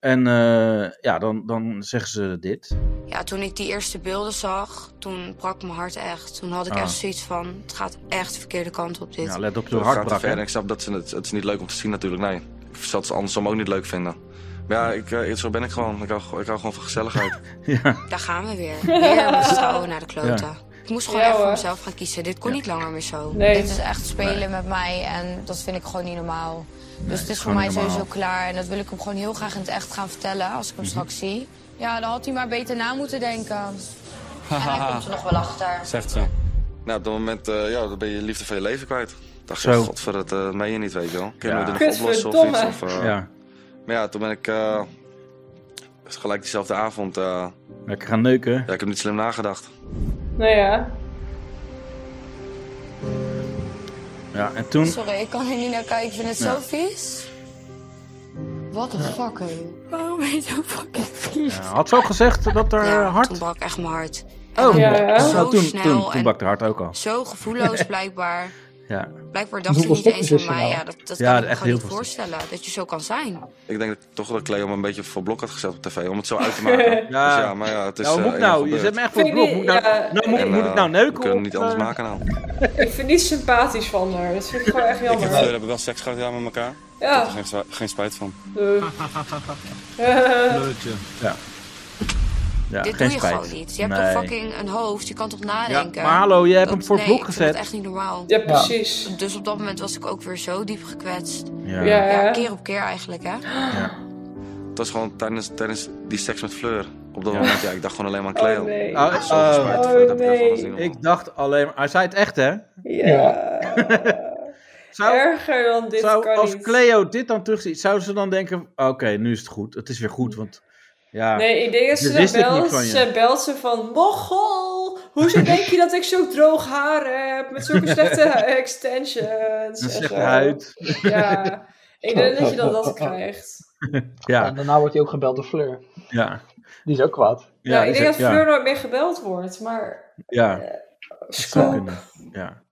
S2: En eh, ja, dan, dan zeggen ze dit.
S8: Ja, toen ik die eerste beelden zag, toen brak mijn hart echt. Toen had ik
S2: Ah.
S8: echt zoiets van, het gaat echt de verkeerde kant op dit.
S2: Ja, let op je
S5: Het gaat te
S2: hartbrak.
S5: ver.
S2: hè.
S5: en Ik snap dat ze het, het is niet leuk om te zien natuurlijk. Nee, ik zou het andersom ook niet leuk vinden. Maar ja, ik, eh, zo ben ik gewoon. Ik hou, ik hou gewoon van gezelligheid.
S2: Ja,
S8: Daar gaan we weer. Weer vertrouwen naar de kloten. Ik moest gewoon
S6: Ja,
S8: even voor
S6: hoor.
S8: mezelf gaan kiezen. Dit kon niet langer meer zo.
S6: Nee.
S8: Dit is echt spelen met mij en dat vind ik gewoon niet normaal. Dus het is voor
S2: gewoon
S8: mij
S2: niet normaal.
S8: sowieso klaar. En dat wil ik hem gewoon heel graag in het echt gaan vertellen als ik hem straks zie. Ja, dan had hij maar beter na moeten denken. En hij komt er nog wel achter.
S9: Zegt ze.
S5: nou, op dat moment eh, ja, dan ben je liefde van je leven kwijt. Ik dacht,
S2: Zo.
S5: zo. godver, dat eh, meen je niet, weet je wel. Kunnen
S2: Ja.
S5: we dit nog oplossen of iets?
S6: Kutverdomme.
S5: Of, eh,
S2: ja.
S5: Maar ja, toen ben ik eh, gelijk diezelfde avond... eh,
S2: Lekker gaan neuken.
S5: ja, ik heb niet slim nagedacht.
S6: Nou ja,
S2: Ja, en toen...
S8: Sorry, ik kan er niet naar kijken. Ik vind het
S2: Ja.
S8: zo vies. What the fuck, hé.
S6: Oh,
S8: Waarom ben je zo fucking vies?
S2: Ja, eh, had ze ook gezegd dat er
S8: Ja,
S2: eh, hard...
S8: toen brak echt mijn hart.
S2: Oh,
S6: Ja, ja.
S8: Zo
S2: Nou, toen,
S8: snel
S2: toen, toen
S8: en-
S2: bakte hart ook al.
S8: Zo gevoelloos blijkbaar.
S2: Ja,
S5: Dus,
S8: Blijkbaar dacht ik
S3: Hoeveel
S8: niet eens
S3: stokjes
S8: aan
S3: is er
S8: mij.
S3: nou?
S8: Ja, dat, dat
S2: Ja,
S8: kan ik me
S2: echt
S8: gewoon
S2: heel
S8: niet
S2: veel
S8: voorstellen. Dat je zo kan zijn.
S5: Ik denk dat, toch dat Cleo me een beetje voor blok had gezet op tv, om het zo uit te maken. ja. Dus ja, maar ja, het is...
S2: nou,
S5: eh,
S2: moet ik
S5: eenmaal
S2: nou? Je
S5: gebeurd.
S2: zet me echt voor het
S6: Vind
S2: blok.
S6: je-
S2: Moet ik nou,
S6: ja.
S2: nou, moet,
S5: En,
S2: moet
S5: eh,
S2: ik nou neuken?
S5: We kunnen
S2: of,
S5: het niet anders
S2: eh,
S5: maken nou.
S6: ik vind niets sympathisch van haar. Dat vind ik gewoon echt
S9: Ik heb,
S6: jammer.
S9: we hebben wel seks gehad ja, met elkaar. Ik heb
S6: Ja.
S9: er geen, zwa- geen spijt van.
S6: eh.
S2: Ja,
S8: Dit
S2: geen
S8: doe je
S2: spijt.
S8: gewoon niet. Je hebt
S2: Nee.
S8: toch fucking een hoofd. Je kan toch nadenken.
S2: maar hallo, jij hebt
S8: Dat-
S2: hem voor het
S8: nee,
S2: blok
S8: ik vind
S2: gezet.
S8: Dat is echt niet normaal.
S6: ja, precies.
S8: Dus op dat moment was ik ook weer zo diep gekwetst.
S2: Ja.
S6: Ja,
S2: Ja.
S8: Ja,
S3: Eh?
S6: hè?
S8: keer op keer eigenlijk, hè?
S5: Het was gewoon tijdens, tijdens die seks met Fleur. Op dat
S2: Ja.
S5: moment, ja, Ah, ik dacht gewoon alleen maar aan Cleo.
S6: Oh nee.
S2: Oh,
S5: Zo
S2: oh,
S5: gespijt. Dat
S6: Oh,
S5: heb ik
S6: nee.
S5: ervan gezien,
S2: ik dacht alleen maar... Hij zei het echt, hè?
S6: Ja.
S2: Zou,
S6: Erger dan dit
S2: zou,
S6: kan
S2: als
S6: niet.
S2: Cleo dit dan terugziet, zou ze dan denken... Oké, nu is het goed. Het is weer goed, want... Ja,
S6: Nee, ik denk dat
S2: Dit
S6: ze dan
S2: wist ik niet
S6: belt.
S2: van je.
S6: Ze belt ze van, mogol, hoezo denk je dat ik zo droog haar heb met zulke slechte extensions?
S2: een
S6: en
S2: slechte
S6: zo.
S2: huid.
S6: Ja, ik denk dat je dan dat krijgt.
S3: En
S2: Ja,
S3: daarna wordt hij ook gebeld door Fleur.
S2: ja.
S3: Die is ook kwaad.
S6: Ja,
S2: Ja,
S6: Nou, ik
S2: is
S6: denk dat
S2: het- ja,
S6: Fleur nooit meer gebeld wordt, maar...
S2: Ja, zou
S6: Scoop.
S2: kunnen. Ja.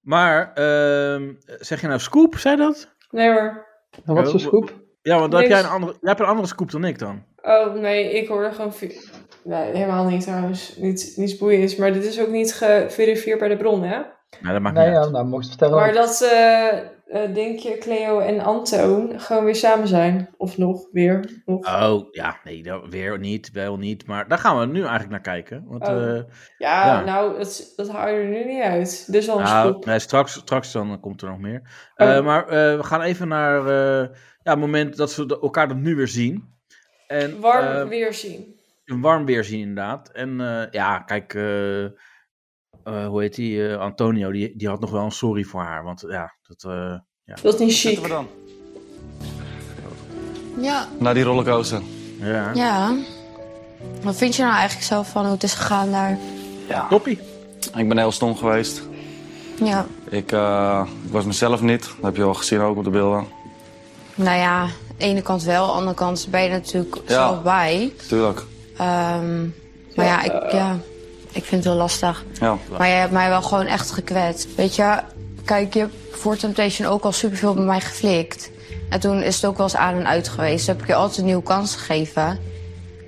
S2: Maar, ehm, zeg je nou scoop, zei dat?
S6: Nee hoor.
S3: En wat voor scoop?
S2: Ja, want dan heb jij,
S6: Niks.
S2: een andere, jij hebt een andere scoop dan ik dan.
S6: Oh, nee, ik hoorde gewoon... vi- Nee, helemaal niet trouwens. Niet, niets boeiends. Maar dit is ook niet geverifieerd bij de bron, hè?
S2: Nee, dat maakt
S3: Nee,
S2: niet
S3: ja,
S2: uit.
S3: nou, mocht je het vertellen.
S6: Maar dat eh eh, Dinkje, Cleo en Antoon gewoon weer samen zijn. Of nog, weer. Nog.
S2: Oh, ja, nee, dat- weer niet, wel niet. Maar daar gaan we nu eigenlijk naar kijken. Want,
S6: Oh.
S2: eh,
S6: Ja,
S2: Ja.
S6: nou, dat, dat haal je er nu niet uit. Dus al een
S2: nou,
S6: scoop.
S2: nee, straks, straks dan komt er nog meer.
S6: Oh.
S2: Eh, maar eh, we gaan even naar eh, ja, het moment dat ze de- elkaar dat nu weer zien. En,
S6: Warm
S2: eh,
S6: weer zien.
S2: een warm weer zien inderdaad. En eh, ja, kijk, eh, eh, hoe heet die? eh, Antonio, die, die had nog wel een sorry voor haar. Want ja, dat... eh,
S6: Dat is niet chic.
S5: Zitten we dan?
S8: Ja.
S5: Naar die rollercoaster.
S2: ja,
S8: Ja. Wat vind je nou eigenlijk zelf van hoe het is gegaan daar?
S5: Ja.
S2: toppie.
S5: Ik ben heel stom geweest.
S8: Ja.
S5: Ik, eh, ik was mezelf niet. Dat heb je al gezien ook op de beelden.
S8: Nou ja, aan de ene kant wel, aan de andere kant ben je natuurlijk
S5: Ja.
S8: zelf bij.
S5: Tuurlijk.
S8: Ehm, maar ja ik, ja, ik vind het heel lastig.
S5: Ja.
S8: Maar jij hebt mij wel gewoon echt gekwetst. Weet je, kijk, je hebt voor Temptation ook al superveel bij mij geflikt. En toen is het ook wel eens aan en uit geweest. Toen heb ik je altijd een nieuwe kans gegeven.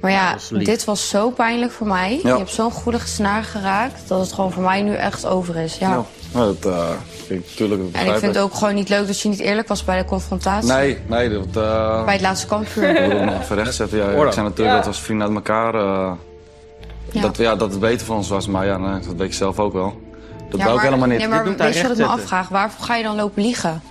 S8: Maar ja,
S2: dat is lief.
S8: dit was zo pijnlijk voor mij. Je hebt zo'n goede snaar geraakt dat het gewoon voor mij nu echt over is. Ja.
S5: Ja. Ja, dat, eh, ik, tuurlijk,
S8: En
S5: dat begrijp
S8: ik vind het ook gewoon niet leuk dat je niet eerlijk was bij de confrontatie.
S5: Nee, nee, dat... eh
S8: Bij het laatste kampvuur.
S5: ik wil nog even rechtzetten. Ja,
S2: Oorlog.
S5: ik zei natuurlijk
S6: Ja.
S5: dat we als vrienden uit elkaar... eh,
S8: Ja.
S5: Dat, ja, dat het beter voor ons was. Maar ja, nee, dat weet ik zelf ook wel. Dat wou ik helemaal niet.
S8: Nee, maar
S2: Dit doet hij
S8: weet je wat ik me
S2: rechtzetten.
S8: afvraag? Waarvoor ga je dan lopen liegen?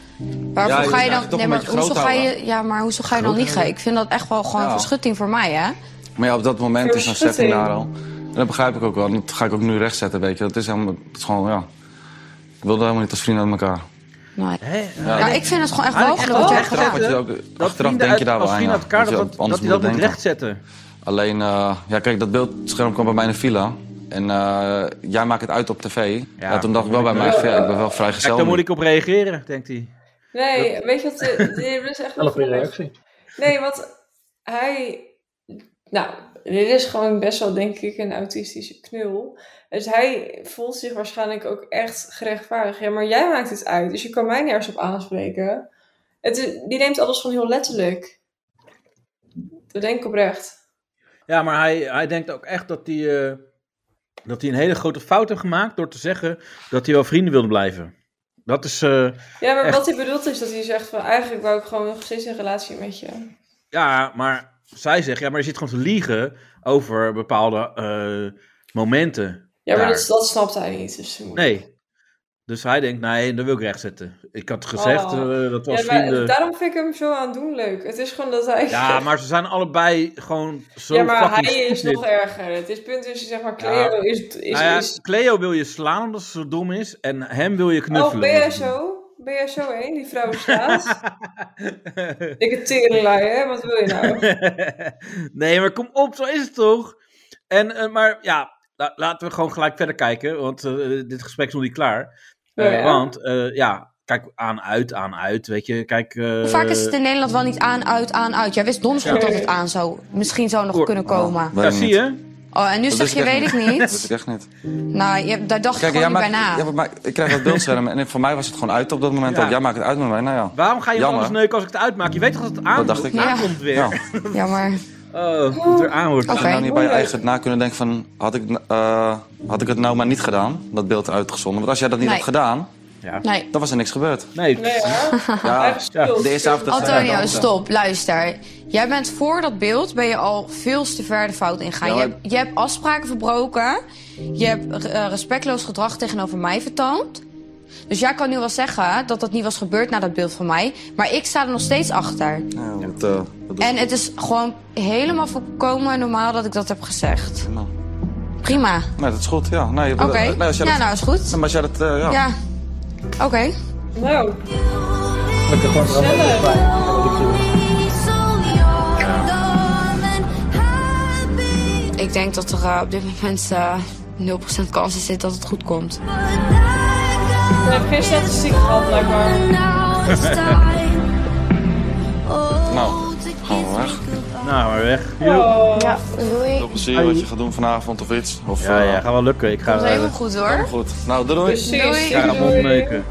S8: Waarvoor ga je
S5: Ja, je moet
S8: dan...
S5: eigenlijk toch
S8: Nee,
S5: een
S8: maar
S5: beetje
S8: hoezo
S5: groot
S8: ga je...
S5: houden.
S8: Ja, maar hoezo ga je dan liegen? Ik vind dat echt wel gewoon
S5: Ja.
S8: verschutting voor mij, hè?
S5: Maar ja, op dat moment is zo'n
S6: Verschutting.
S5: setting daar al. En dat begrijp ik ook wel. En dat ga ik ook nu rechtzetten, weet je. Dat is helemaal... Dat is gewoon, ja... wilde helemaal niet als vrienden uit elkaar.
S4: Nee.
S2: Hè?
S5: Ja,
S4: Ja, ik vind het gewoon echt
S2: Eigenlijk
S4: walgelijk wat jij
S2: echt
S4: hebt
S5: achteraf,
S4: gedaan.
S5: had je
S2: hè?
S5: ook,
S2: Dat
S5: achteraf
S2: vrienden
S5: denk je
S2: uit,
S5: daar
S2: als
S5: wel aan.
S2: vrienden uit elkaar,
S5: ja.
S2: dat,
S5: Weet je,
S2: dat,
S5: anders
S2: dat die
S5: moet
S2: dat
S5: je
S2: moet
S5: denken.
S2: rechtzetten.
S5: Alleen, eh, ja, kijk, dat beeldscherm kwam bij mij in de villa. En eh, jij maakt het uit op tv. Ja,
S2: Ja.
S5: toen dacht ik wel bij mij, van, ja, ik ben wel
S2: Kijk,
S5: vrijgezel.
S2: daar moet
S5: nu.
S2: ik op reageren, denkt hij.
S6: Nee, weet je wat? eh, Dit is echt
S3: Wel
S6: wel
S3: een goede
S6: grappig.
S3: reactie.
S6: Nee, want hij. Nou, dit is gewoon best wel, denk ik, een autistische knul. Dus hij voelt zich waarschijnlijk ook echt gerechtvaardigd. Ja, maar jij maakt het uit, dus je kan mij nergens op aanspreken. Het is- die neemt alles gewoon heel letterlijk. Dat denk ik oprecht.
S2: Ja, maar hij, hij denkt ook echt dat hij, eh, dat hij een hele grote fout heeft gemaakt door te zeggen dat hij wel vrienden wilde blijven. Dat is, eh,
S6: Ja, maar
S2: Echt.
S6: wat hij bedoelt is dat hij zegt van... Eigenlijk wou ik gewoon nog steeds een relatie met je.
S2: ja, maar zij zegt, ja, maar je zit gewoon te liegen over bepaalde eh, momenten.
S6: Ja, maar
S2: Daar.
S6: dat, dat snapt hij niet. Dus
S2: Nee. Dus hij denkt, nee, dat wil ik rechtzetten. Ik had gezegd
S6: Oh.
S2: eh, dat we
S6: ja,
S2: als
S6: maar
S2: vrienden...
S6: daarom vind ik hem zo aandoenlijk. Het is gewoon dat hij...
S2: Ja, maar ze zijn allebei gewoon zo
S6: ja, maar
S2: fucking
S6: hij is
S2: stupid.
S6: nog erger. Het is punt is, zeg maar, Cleo
S2: Ja.
S6: is... is,
S2: Nou ja,
S6: is...
S2: Cleo wil je slaan omdat ze zo dom is en hem wil je knuffelen.
S6: Oh, ben jij zo? Ben jij zo heen, die vrouw staat? Dikke terenlaai, hè? Wat wil je nou?
S2: nee, maar kom op, zo is het toch? En, eh, maar ja, la- laten we gewoon gelijk verder kijken, want eh, dit gesprek is nog niet klaar. Eh,
S6: Oh ja?
S2: Want, eh, ja, kijk, aan, uit, aan, uit, weet je, kijk... eh,
S4: Hoe vaak is het in Nederland wel niet aan, uit, aan, uit? Jij wist dons goed dat het aan zou, misschien zou nog
S2: Oor-
S4: kunnen komen.
S5: Weet
S2: Ja,
S5: ik niet.
S2: zie je?
S4: Oh, en nu
S5: Dat
S4: zeg je,
S5: ik echt
S4: weet ik
S5: Dat wist
S4: niet.
S5: ik echt niet.
S4: Nou, je, daar dacht ik
S5: Kijk, jij
S4: gewoon niet bij
S5: maakt,
S4: na.
S5: ja, maar- maar ik krijg dat beeldscherm en voor mij was het gewoon uit op dat moment.
S2: Ja.
S5: ook. Jij maakt het uit met mij, nou ja.
S2: Waarom ga je het
S5: Jammer.
S2: anders neuken als ik het uitmaak? Je weet toch dat het aan,
S5: Dat dacht ik.
S4: Ja.
S2: aankomt weer?
S5: Ja.
S4: Jammer.
S2: Oh, dat het er aan wordt.
S4: Oké.
S7: nou
S5: En dan niet bij je eigen na kunnen denken van, had ik, eh, had ik het nou maar niet gedaan, dat beeld uitgezonden. Want als jij dat niet
S4: Nee.
S5: had gedaan,
S4: Nee.
S5: dan was er niks gebeurd.
S2: Nee,
S6: Nee, hè?
S5: Ja,
S6: Eigen schuld.
S5: de eerste avond dat ze-
S4: Antonio,
S5: Ja,
S4: stop, luister. Jij bent voor dat beeld, ben je al veel te ver de fout ingaan.
S5: Ja,
S4: je,
S5: maar-
S4: hebt, je hebt afspraken verbroken. Je hebt eh, respectloos gedrag tegenover mij vertoond. Dus jij kan nu wel zeggen dat dat niet was gebeurd na dat beeld van mij. Maar ik sta er nog steeds achter.
S5: Ja, dat, eh, dat doe ik
S4: En het is gewoon helemaal volkomen normaal dat ik dat heb gezegd.
S5: niet, man.
S4: Prima.
S5: Nee, dat is goed, ja. Nee,
S4: Oké.
S5: nee, als jij
S4: Ja,
S5: dat-
S4: nou is goed.
S5: Maar als jij dat, eh, ja.
S4: Ja. Oké.
S6: Nou,
S3: Gelukkig wordt er allemaal weer bij. Ja, dat ik je-
S4: Ik denk dat er eh, op dit moment eh 0% kans is dat het goed komt.
S6: ik heb geen statistiek gehad, blijkbaar.
S4: Oh,
S5: Nou, gewoon weg.
S2: nou, maar weg.
S6: Oh.
S8: Ja, doei.
S5: Veel plezier wat je gaat doen vanavond of iets. Of,
S2: Ja,
S5: eh,
S2: ja, gaat wel lukken. Ik ga...
S4: Dat is helemaal
S2: eh,
S4: goed hoor.
S5: Goed, nou doei, doei.
S6: Precies.
S4: Doei.
S2: Ik ga
S6: doei.
S2: hem opneuken.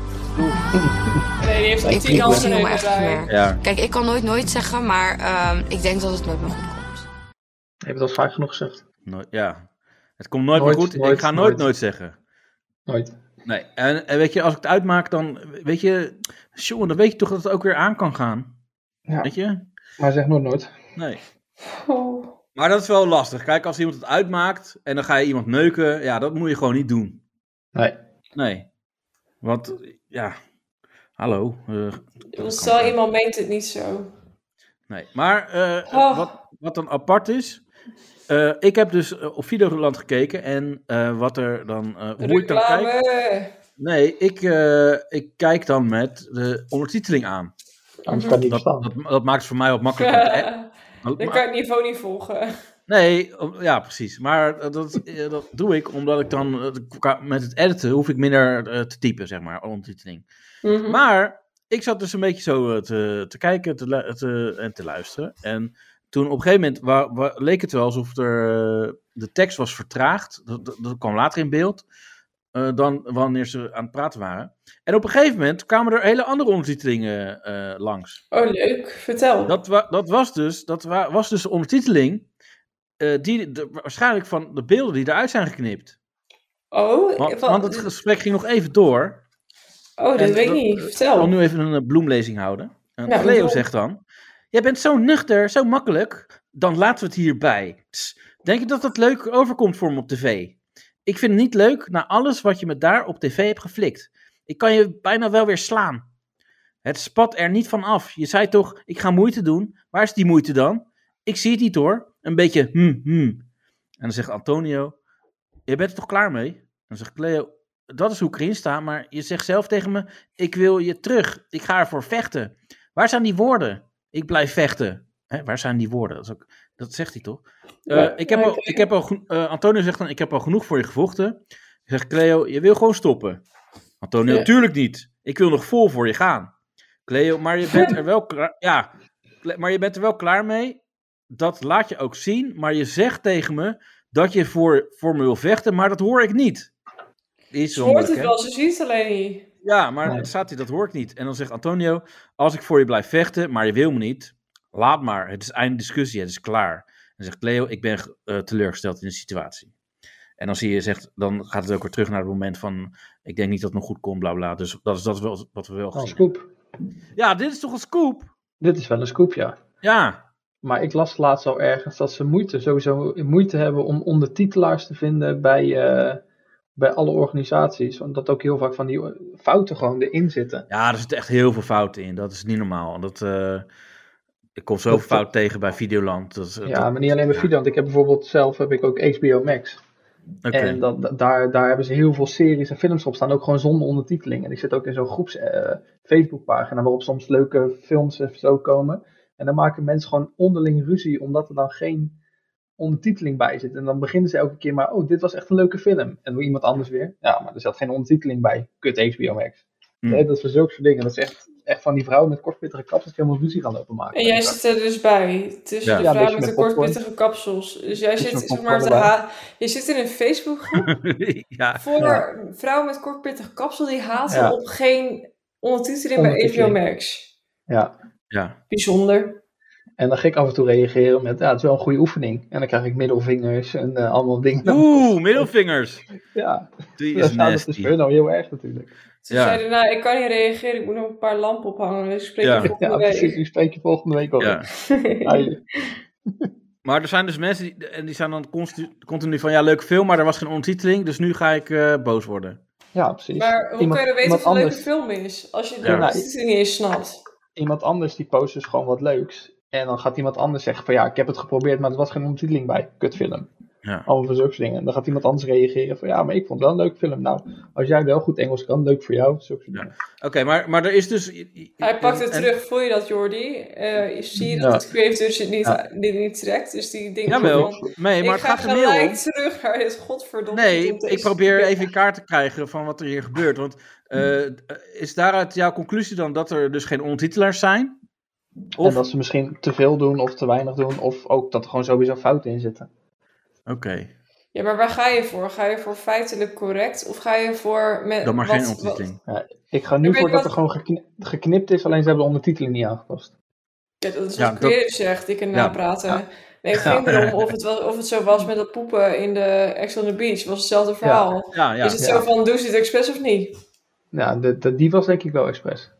S6: Nee, die heeft al
S4: Ik
S6: tien
S4: heb
S6: handen
S4: misschien helemaal echt
S6: erbij.
S4: meer.
S2: Ja.
S4: Kijk, ik kan nooit nooit zeggen, maar ehm, ik denk dat het met me goed komt.
S3: Ik heb het al vaak genoeg gezegd.
S2: Nooit, ja. Het komt nooit,
S3: Nooit,
S2: meer goed.
S3: nooit,
S2: ik ga nooit, nooit
S3: nooit.
S2: zeggen.
S3: Nooit.
S2: Nee. En, en weet je, als ik het uitmaak, dan weet je, jongen, dan weet je toch dat het ook weer aan kan gaan.
S3: Ja.
S2: Weet je?
S3: Maar zeg nooit nooit.
S2: Nee.
S6: Oh.
S2: Maar dat is wel lastig. Kijk, als iemand het uitmaakt en dan ga je iemand neuken, ja, dat moet je gewoon niet doen.
S3: Nee.
S2: Nee. Want, ja, hallo. eh,
S6: Ik bedoel, Stel, iemand meent het niet zo.
S2: nee. Maar eh,
S6: Oh.
S2: wat, wat dan apart is, eh, ik heb dus eh, op Videoland gekeken en eh, wat er dan, eh, hoe ik dan kijk.
S6: Reclame.
S2: Nee, ik, eh, ik kijk dan met de ondertiteling aan.
S3: Anders kan het niet
S2: Dat,
S3: verstaan.
S2: dat, dat maakt het voor mij wat makkelijker. om te app-
S6: Dan
S2: maar-
S6: kan je het niveau niet volgen.
S2: nee, om- ja, precies. Maar eh, dat, eh, dat doe ik omdat ik dan eh, qua- met het editen hoef ik minder eh, te typen, zeg maar, ondertiteling.
S6: Mhm.
S2: Maar ik zat dus een beetje zo eh, te, te kijken te, lu- te- en te luisteren. En toen op een gegeven moment wa- wa- leek het wel alsof er, eh, de tekst was vertraagd. Dat, dat, dat kwam later in beeld. eh, dan wanneer ze aan het praten waren. En op een gegeven moment kwamen er hele andere ondertitelingen eh, langs.
S6: Oh, leuk. Vertel.
S2: Dat, wa- dat, was dus, dat wa- was dus de ondertiteling. eh, die de- waarschijnlijk van de beelden die eruit zijn geknipt.
S6: Oh,
S2: Want,
S6: ik-
S2: want het gesprek ging nog even door.
S6: oh dat
S2: en
S6: weet ik
S2: dat-
S6: niet.
S2: Ik
S6: Vertel.
S2: wil nu even een eh, bloemlezing houden. En
S6: Nou,
S2: Cleo
S6: doe.
S2: zegt dan: Jij bent zo nuchter, zo makkelijk. Dan laten we het hierbij. Tss, Denk je dat dat leuk overkomt voor me op tv? Ik vind het niet leuk na alles wat je me daar op tv hebt geflikt. Ik kan je bijna wel weer slaan. Het spat er niet van af. Je zei toch, ik ga moeite doen. Waar is die moeite dan? Ik zie het niet hoor. Een beetje hm, hm. En dan zegt Antonio, je bent er toch klaar mee? En dan zegt Cleo, dat is hoe ik erin sta, maar je zegt zelf tegen me, ik wil je terug. Ik ga ervoor vechten. Waar zijn die woorden? Ik blijf vechten. Hè, waar zijn die woorden? Dat, is ook, dat zegt hij toch? Eh,
S6: Ja,
S2: ik heb al, ik heb al geno- eh, Antonio zegt dan, ik heb al genoeg voor je gevochten. Ik zeg, Cleo, je wil gewoon stoppen. Antonio,
S6: Ja.
S2: natuurlijk niet. Ik wil nog vol voor je gaan. Cleo, maar je bent er wel klaar... Ja, Cle- maar je bent er wel klaar mee. Dat laat je ook zien. Maar je zegt tegen me dat je voor, voor me wil vechten, maar dat hoor ik niet. Iets
S6: Ze
S2: zo
S6: hoort
S2: moeilijk,
S6: het
S2: hè?
S6: wel, ze ziet het alleen niet.
S2: Ja, maar
S3: Nee.
S2: dan staat hij, dat hoor ik niet. En dan zegt Antonio, als ik voor je blijf vechten, maar je wil me niet, laat maar. Het is einde discussie, het is klaar. Dan zegt Leo, ik ben eh, teleurgesteld in de situatie. En dan zie je, zegt, dan gaat het ook weer terug naar het moment van, ik denk niet dat het nog goed komt, bla bla. Dus dat is, dat is wel wat we wel
S3: Wel een
S2: gezien
S3: Oh, scoop.
S2: hebben. Ja, dit is toch een scoop?
S3: Dit is wel een scoop, ja.
S2: Ja,
S3: Maar ik las laatst al ergens dat ze moeite, sowieso moeite hebben om ondertitelaars te vinden bij, eh, bij alle organisaties. Omdat ook heel vaak van die fouten gewoon erin zitten.
S2: ja er zitten echt heel veel fouten in. Dat is niet normaal. Dat, eh, ik kom zoveel
S3: Dat- dat-
S2: fouten tegen bij Videoland. Dat, is- eh,
S3: Ja,
S2: dat-
S3: maar niet alleen bij Videoland. Ik heb bijvoorbeeld zelf heb ik ook HBO Max.
S2: oké.
S3: En dat, da- daar, daar hebben ze heel veel series en films op staan, ook gewoon zonder ondertiteling. En ik zit ook in zo'n groeps eh, Facebookpagina waarop soms leuke films en zo komen. En dan maken mensen gewoon onderling ruzie, omdat er dan geen ondertiteling bij zit. En dan beginnen ze elke keer maar, oh, dit was echt een leuke film. En dan iemand anders weer, ja, maar er zat geen ondertiteling bij. Kut HBO Max.
S2: Hmm.
S3: Nee, dat is voor zulke soort dingen. Dat is echt, echt van die vrouwen met kortpittige kapsels die helemaal ruzie gaan lopen maken.
S6: En jij zit er dus bij, tussen
S2: Ja.
S6: de
S3: Ja,
S6: vrouw
S3: beetje
S6: met de
S3: met popcorn.
S6: kortpittige kapsels. Dus jij
S3: Beetje
S6: zit,
S3: met
S6: zeg maar, te
S3: popcorn erbij.
S6: ha- je zit in een Facebookgroep
S2: ja.
S6: voor
S3: Ja.
S6: vrouwen met kortpittige kapsel die haten
S3: Ja.
S6: op geen ondertiteling bij HBO
S3: Ondertiteling.
S6: Max.
S3: Ja.
S2: ja.
S6: Bijzonder.
S3: En dan ga ik af en toe reageren met, ja, het is wel een goede oefening. En dan krijg ik middelvingers en eh, allemaal dingen.
S2: Oeh, middelvingers.
S3: Ja,
S2: Die
S3: dat
S2: is
S3: is, nou, dat is
S2: nasty.
S3: voor hun al heel erg natuurlijk.
S6: Ze
S2: Ja.
S6: zeiden, nou, ik kan niet reageren, ik moet nog een paar lampen ophangen. Dus ik spreek
S2: Ja.
S6: je volgende
S3: Ja, precies.
S6: week.
S3: Ik spreek je volgende week al.
S2: Ja.
S3: Ja,
S2: Maar er zijn dus mensen die, en die zijn dan continu, continu van ja, leuk film, maar er was geen ondertiteling, dus nu ga ik eh, boos worden.
S3: ja, precies.
S6: Maar hoe
S3: Iemand-
S6: kan je weten
S3: iemand
S6: of het een leuke
S3: anders-
S6: film is? Als je de
S2: Ja.
S6: ondertiteling niet eens snapt.
S3: Iemand anders die post dus gewoon wat leuks. En dan gaat iemand anders zeggen van, ja, ik heb het geprobeerd, maar er was geen ondertiteling bij. Kutfilm.
S2: Ja.
S3: Allemaal van zulke dingen. En dan gaat iemand anders reageren van, ja, maar ik vond het wel een leuk film. Nou, als jij wel goed Engels kan, leuk voor jou. Zulke soort
S2: Ja.
S3: dingen.
S2: Oké, maar, maar er is dus.
S6: Hij pakt het
S2: en-
S6: terug, voel je dat Jordi? Eh, je ziet
S3: Ja.
S6: dat het creator het niet,
S3: Ja.
S6: dit niet trekt, dus die denkt
S2: Jawel,
S6: van,
S2: nee, maar het
S6: ik ga
S2: gaat er meer
S6: gelijk
S2: om.
S6: terug naar dit godverdomme.
S2: Nee,
S6: tot
S2: ik
S6: deze-
S2: probeer even in kaart te krijgen van wat er hier gebeurt. Want eh, is daaruit jouw conclusie dan dat er dus geen ondertitelaars zijn? Of,
S3: En dat ze misschien te veel doen of te weinig doen. Of ook dat er gewoon sowieso fouten in zitten.
S2: Oké,
S6: Ja, maar waar ga je voor? Ga je voor feitelijk correct of ga je voor... Met,
S2: dan maar
S6: wat-
S2: geen
S6: wat-
S2: ondertiteling.
S3: Ik ga
S6: Ja,
S3: nu
S6: weet
S3: voor
S6: je
S3: dat
S6: wat-
S3: er gewoon gekni- geknipt is, alleen ze hebben de ondertiteling niet aangepast.
S6: Ja, dat is
S2: Ja,
S6: wat
S2: dat-
S6: creator zegt, ik kan napraten. Nee, het
S3: Ja.
S6: ging erom of het, wel, of het zo was met dat poepen in de Ex on the Beach. was hetzelfde verhaal.
S2: Ja, ja.
S6: is het
S3: ja.
S6: zo van, doe ze het expres of niet?
S3: Ja, de, de- die was denk ik wel expres.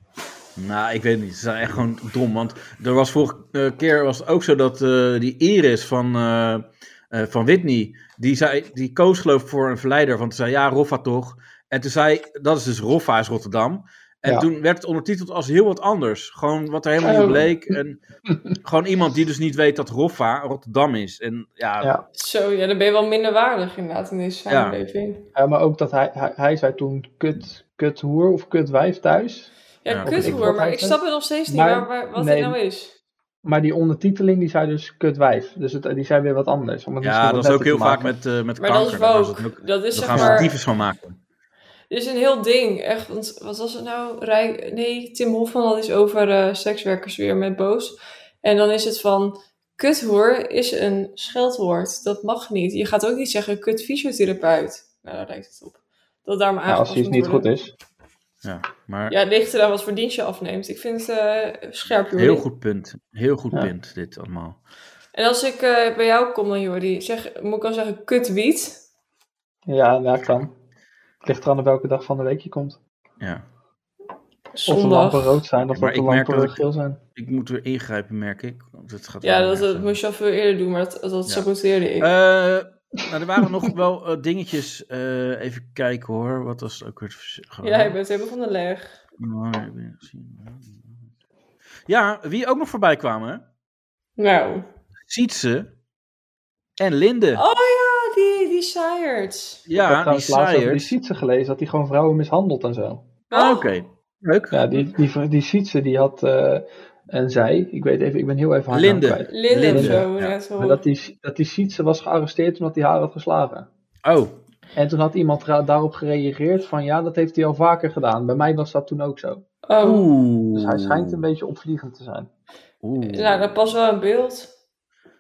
S2: Nou, ik weet niet. Ze zijn echt gewoon dom. Want er was vorige eh, keer was het ook zo dat eh, die Iris van, eh, eh, van Whitney, die, zei, die koos geloof ik voor een verleider. Want ze zei, ja, Roffa toch? En toen zei, dat is dus Roffa is Rotterdam. En
S3: Ja.
S2: toen werd het ondertiteld als heel wat anders. Gewoon wat er helemaal
S6: Oh.
S2: niet bleek. En gewoon iemand die dus niet weet dat Roffa Rotterdam is. En ja,
S3: Ja.
S6: Zo, ja, dan ben je wel minder waardig inderdaad in deze
S2: Ja.
S6: samenleving.
S3: Ja, Eh, maar ook dat hij, hij, hij zei toen kut, kut hoer of kut wijf thuis.
S6: Ja,
S2: Ja,
S6: kut
S2: ik-
S6: hoor, maar
S3: wat
S6: ik
S3: hij
S6: snap het nog steeds niet
S3: Maar-
S6: waar, waar- wat
S3: nee.
S6: het nou is.
S3: Maar die ondertiteling die zei dus kut wijf. Dus het, die zei weer wat anders. Om het
S2: ja
S3: misschien
S2: dat
S3: wat
S2: is ook
S3: netter
S2: heel
S3: te
S2: vaak
S3: maken.
S2: met, eh met
S6: Maar dat
S2: kanker.
S6: is
S2: Daar gaan ze
S6: woke.
S2: het ook-
S6: Dat is
S2: daar
S6: zeg
S2: gaan ze
S6: maar...
S2: tyfus van maken.
S6: Er is een heel ding, echt. Want wat was het nou? Rij, nee, Tim Hofman had iets over eh, sekswerkers weer met boos. En dan is het van. Kuthoer is een scheldwoord. Dat mag niet. Je gaat ook niet zeggen kut fysiotherapeut. Nou, daar lijkt het op. Dat daar maar
S2: eh,
S3: Ja, als
S6: aangepast
S3: hij
S6: moet
S3: niet goed
S6: worden.
S3: is.
S2: Ja, maar
S6: Ja, het ligt eraan wat voor dienst je afneemt. Ik vind het eh, scherp, Jordi.
S2: heel goed punt. Heel goed
S3: Ja.
S2: punt, dit allemaal.
S6: En als ik eh, bij jou kom dan, Jordi, zeg, moet ik dan zeggen kutwiet?
S3: Ja, dat kan. Het ligt eraan op welke dag van de week je komt.
S2: Ja.
S3: Of de
S6: Zondag.
S3: lampen rood zijn of
S2: maar
S3: dat de
S2: ik merk
S3: lampen
S2: dat ik-
S3: geel zijn.
S2: Ik moet weer ingrijpen, merk ik. Want het gaat
S6: Ja,
S2: allemaal
S6: dat, dat
S2: nergens
S6: moest je al veel eerder doen, maar dat, dat
S2: Ja.
S6: saboteerde ik.
S2: over. Eh, nou, er waren nog wel eh, dingetjes. eh, even kijken hoor. Wat was het ook weer? het vers- gewoon-
S6: ja, je bent helemaal van de leg.
S2: Oh, nee, ik ben niet gezien. Ja, wie ook nog voorbij kwamen.
S6: Nou.
S2: Sietse en Linde.
S6: Oh ja, die, die Sayers.
S3: ik heb
S2: Ja, die
S3: trouwens laatst over die
S2: Sayers.
S3: Sietse gelezen, dat hij gewoon vrouwen mishandelt en zo.
S2: Ah, oké.
S6: Oh,
S2: Leuk.
S3: Ja, die, die, die Sietse die had eh, een zij, ik weet even, ik ben heel even haar naam
S2: Linde.
S3: kwijt.
S6: Lille
S2: Lille,
S6: of zo,
S2: ja.
S6: net
S3: Maar
S6: hoor.
S3: dat die, dat die Sietse was gearresteerd omdat hij haar had geslagen.
S2: Oh,
S3: En toen had iemand ra- daarop gereageerd van ja, dat heeft hij al vaker gedaan. Bij mij was dat toen ook zo.
S6: Oh,
S2: oeh.
S3: Dus hij schijnt een beetje opvliegend te zijn.
S2: Oeh.
S6: nou, dat past wel in beeld.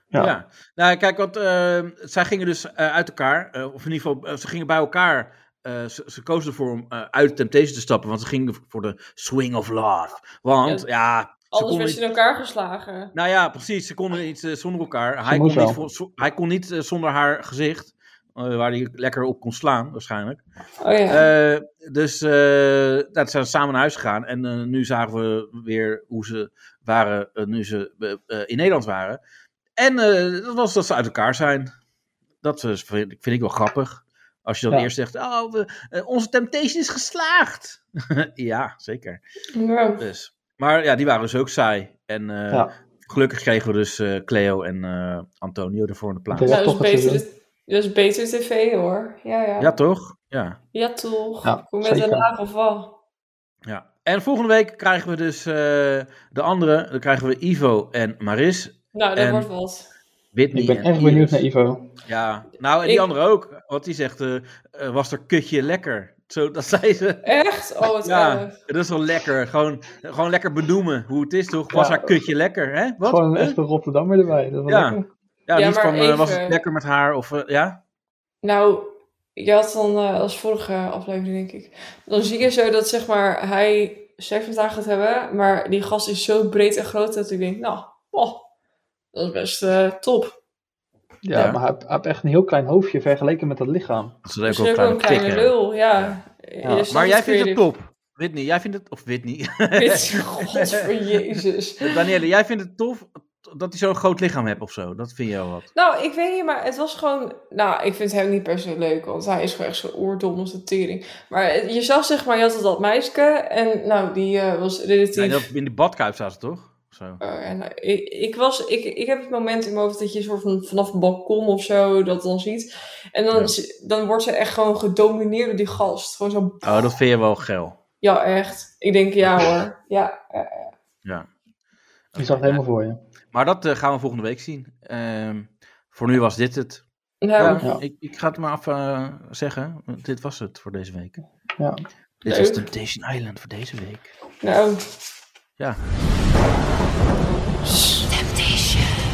S2: Ja.
S3: Ja.
S2: Nou, kijk, want eh, zij gingen dus eh, uit elkaar, eh, of in ieder geval, eh, ze gingen bij elkaar. eh, ze, ze kozen ervoor om eh, uit Temptation te stappen, want ze gingen voor de swing of love. Want, ja,
S6: Ja,
S2: ze
S6: Alles
S2: konden
S6: werd
S2: niet,
S6: in elkaar geslagen.
S2: nou ja, precies, ze konden niet eh, zonder elkaar. Hij kon
S3: moest
S2: niet,
S3: wel.
S2: voor- zo- hij kon niet eh, zonder haar gezicht, eh, waar hij lekker op kon slaan, waarschijnlijk.
S6: Oh ja.
S2: Eh, dus eh nou, ze zijn samen naar huis gegaan. En eh, nu zagen we weer hoe ze waren eh, nu ze eh, eh, in Nederland waren. En eh, dat was dat ze uit elkaar zijn. Dat is, vind, vind ik wel grappig. Als je dan
S3: Ja.
S2: eerst zegt, oh, we- eh, onze temptation is geslaagd. ja, zeker.
S6: Nou,
S2: Dus. Maar ja, die waren dus ook saai. En eh,
S3: Ja.
S2: gelukkig kregen we dus eh, Cleo en eh, Antonio ervoor in de plaats.
S3: Ja,
S6: nou, dat, is
S3: toch, het
S6: beter,
S3: seizoen.
S6: dat is beter tv hoor. Ja, ja.
S2: Ja,
S6: Ja,
S2: toch? Ja.
S6: toch.
S3: Ja,
S6: Kom met een
S3: zeker.
S6: laag of wat.
S2: Ja. En volgende week krijgen we dus eh, de andere. Dan krijgen we Ivo en Maris.
S6: Nou, dat
S2: En-
S6: wordt wat.
S2: Whitney
S3: Ik ben
S2: en
S3: echt
S2: Iris.
S3: benieuwd naar Ivo.
S2: Ja, nou en die
S6: Ik-
S2: andere ook. Want die zegt, eh, eh, was er kutje lekker. Zo, dat zei ze.
S6: Echt? Oh, wat
S2: Ja,
S6: erg.
S2: dat is wel lekker. Gewoon, gewoon lekker benoemen hoe het is toch. Was
S3: Ja.
S2: haar kutje lekker, hè? Wat?
S3: Gewoon
S2: Huh?
S3: echt een Rotterdammer erbij. Dat was
S2: Ja.
S3: lekker.
S2: Ja,
S6: Ja,
S2: die is
S6: maar
S2: van, eh, was
S6: even-
S2: het lekker met haar? Of, eh, ja?
S6: Nou, je had dan eh, als vorige aflevering, denk ik. Dan zie je zo dat zeg maar hij seks met haar gaat hebben. Maar die gast is zo breed en groot dat ik denk, nou, oh, dat is best eh, top.
S3: Ja,
S2: Ja.
S3: maar hij, hij heeft echt een heel klein hoofdje vergeleken met dat lichaam.
S2: Dat is leuk
S6: Misschien Dus ook wel een kleine lul, ja. Je
S3: Maar
S6: snapt
S2: Maar jij vindt het
S6: creatief.
S2: top. Whitney, jij vindt het... Of Whitney.
S6: Dit- Godver Jezus.
S2: Danielle, jij vindt het tof dat hij zo'n groot lichaam hebt of zo. Dat vind je wel wat.
S6: Nou, ik weet niet, maar het was gewoon... Nou, ik vind hem niet per se leuk, want hij is gewoon echt zo oerdom als de tering. Maar eh, je zag zeg maar, je had het dat meisje en nou, die eh, was relatief...
S2: Nee, dat, in de badkuip zaten ze toch? Zo.
S6: Eh, en, eh, ik, ik, was, ik, ik heb het moment in mijn hoofd dat je soort van vanaf het balkon of zo dat dan ziet. En dan,
S2: Ja.
S6: z- dan wordt ze echt gewoon gedomineerd door die gast. Gewoon zo,
S2: Oh, dat vind je wel geil.
S6: ja echt. Ik denk, ja hoor. Ja, eh,
S2: Ja.
S3: Je zag het helemaal voor je.
S2: Maar dat eh, gaan we volgende week zien. Ehm, voor nu was dit het.
S6: nou,
S2: Ja,
S3: Ja.
S2: Ik, ik ga het maar af eh, zeggen. Dit was het voor deze week.
S3: Ja.
S2: Dit was
S6: Leuk.
S2: Temptation Island voor deze week.
S6: nou.
S2: Ja.
S4: Temptation.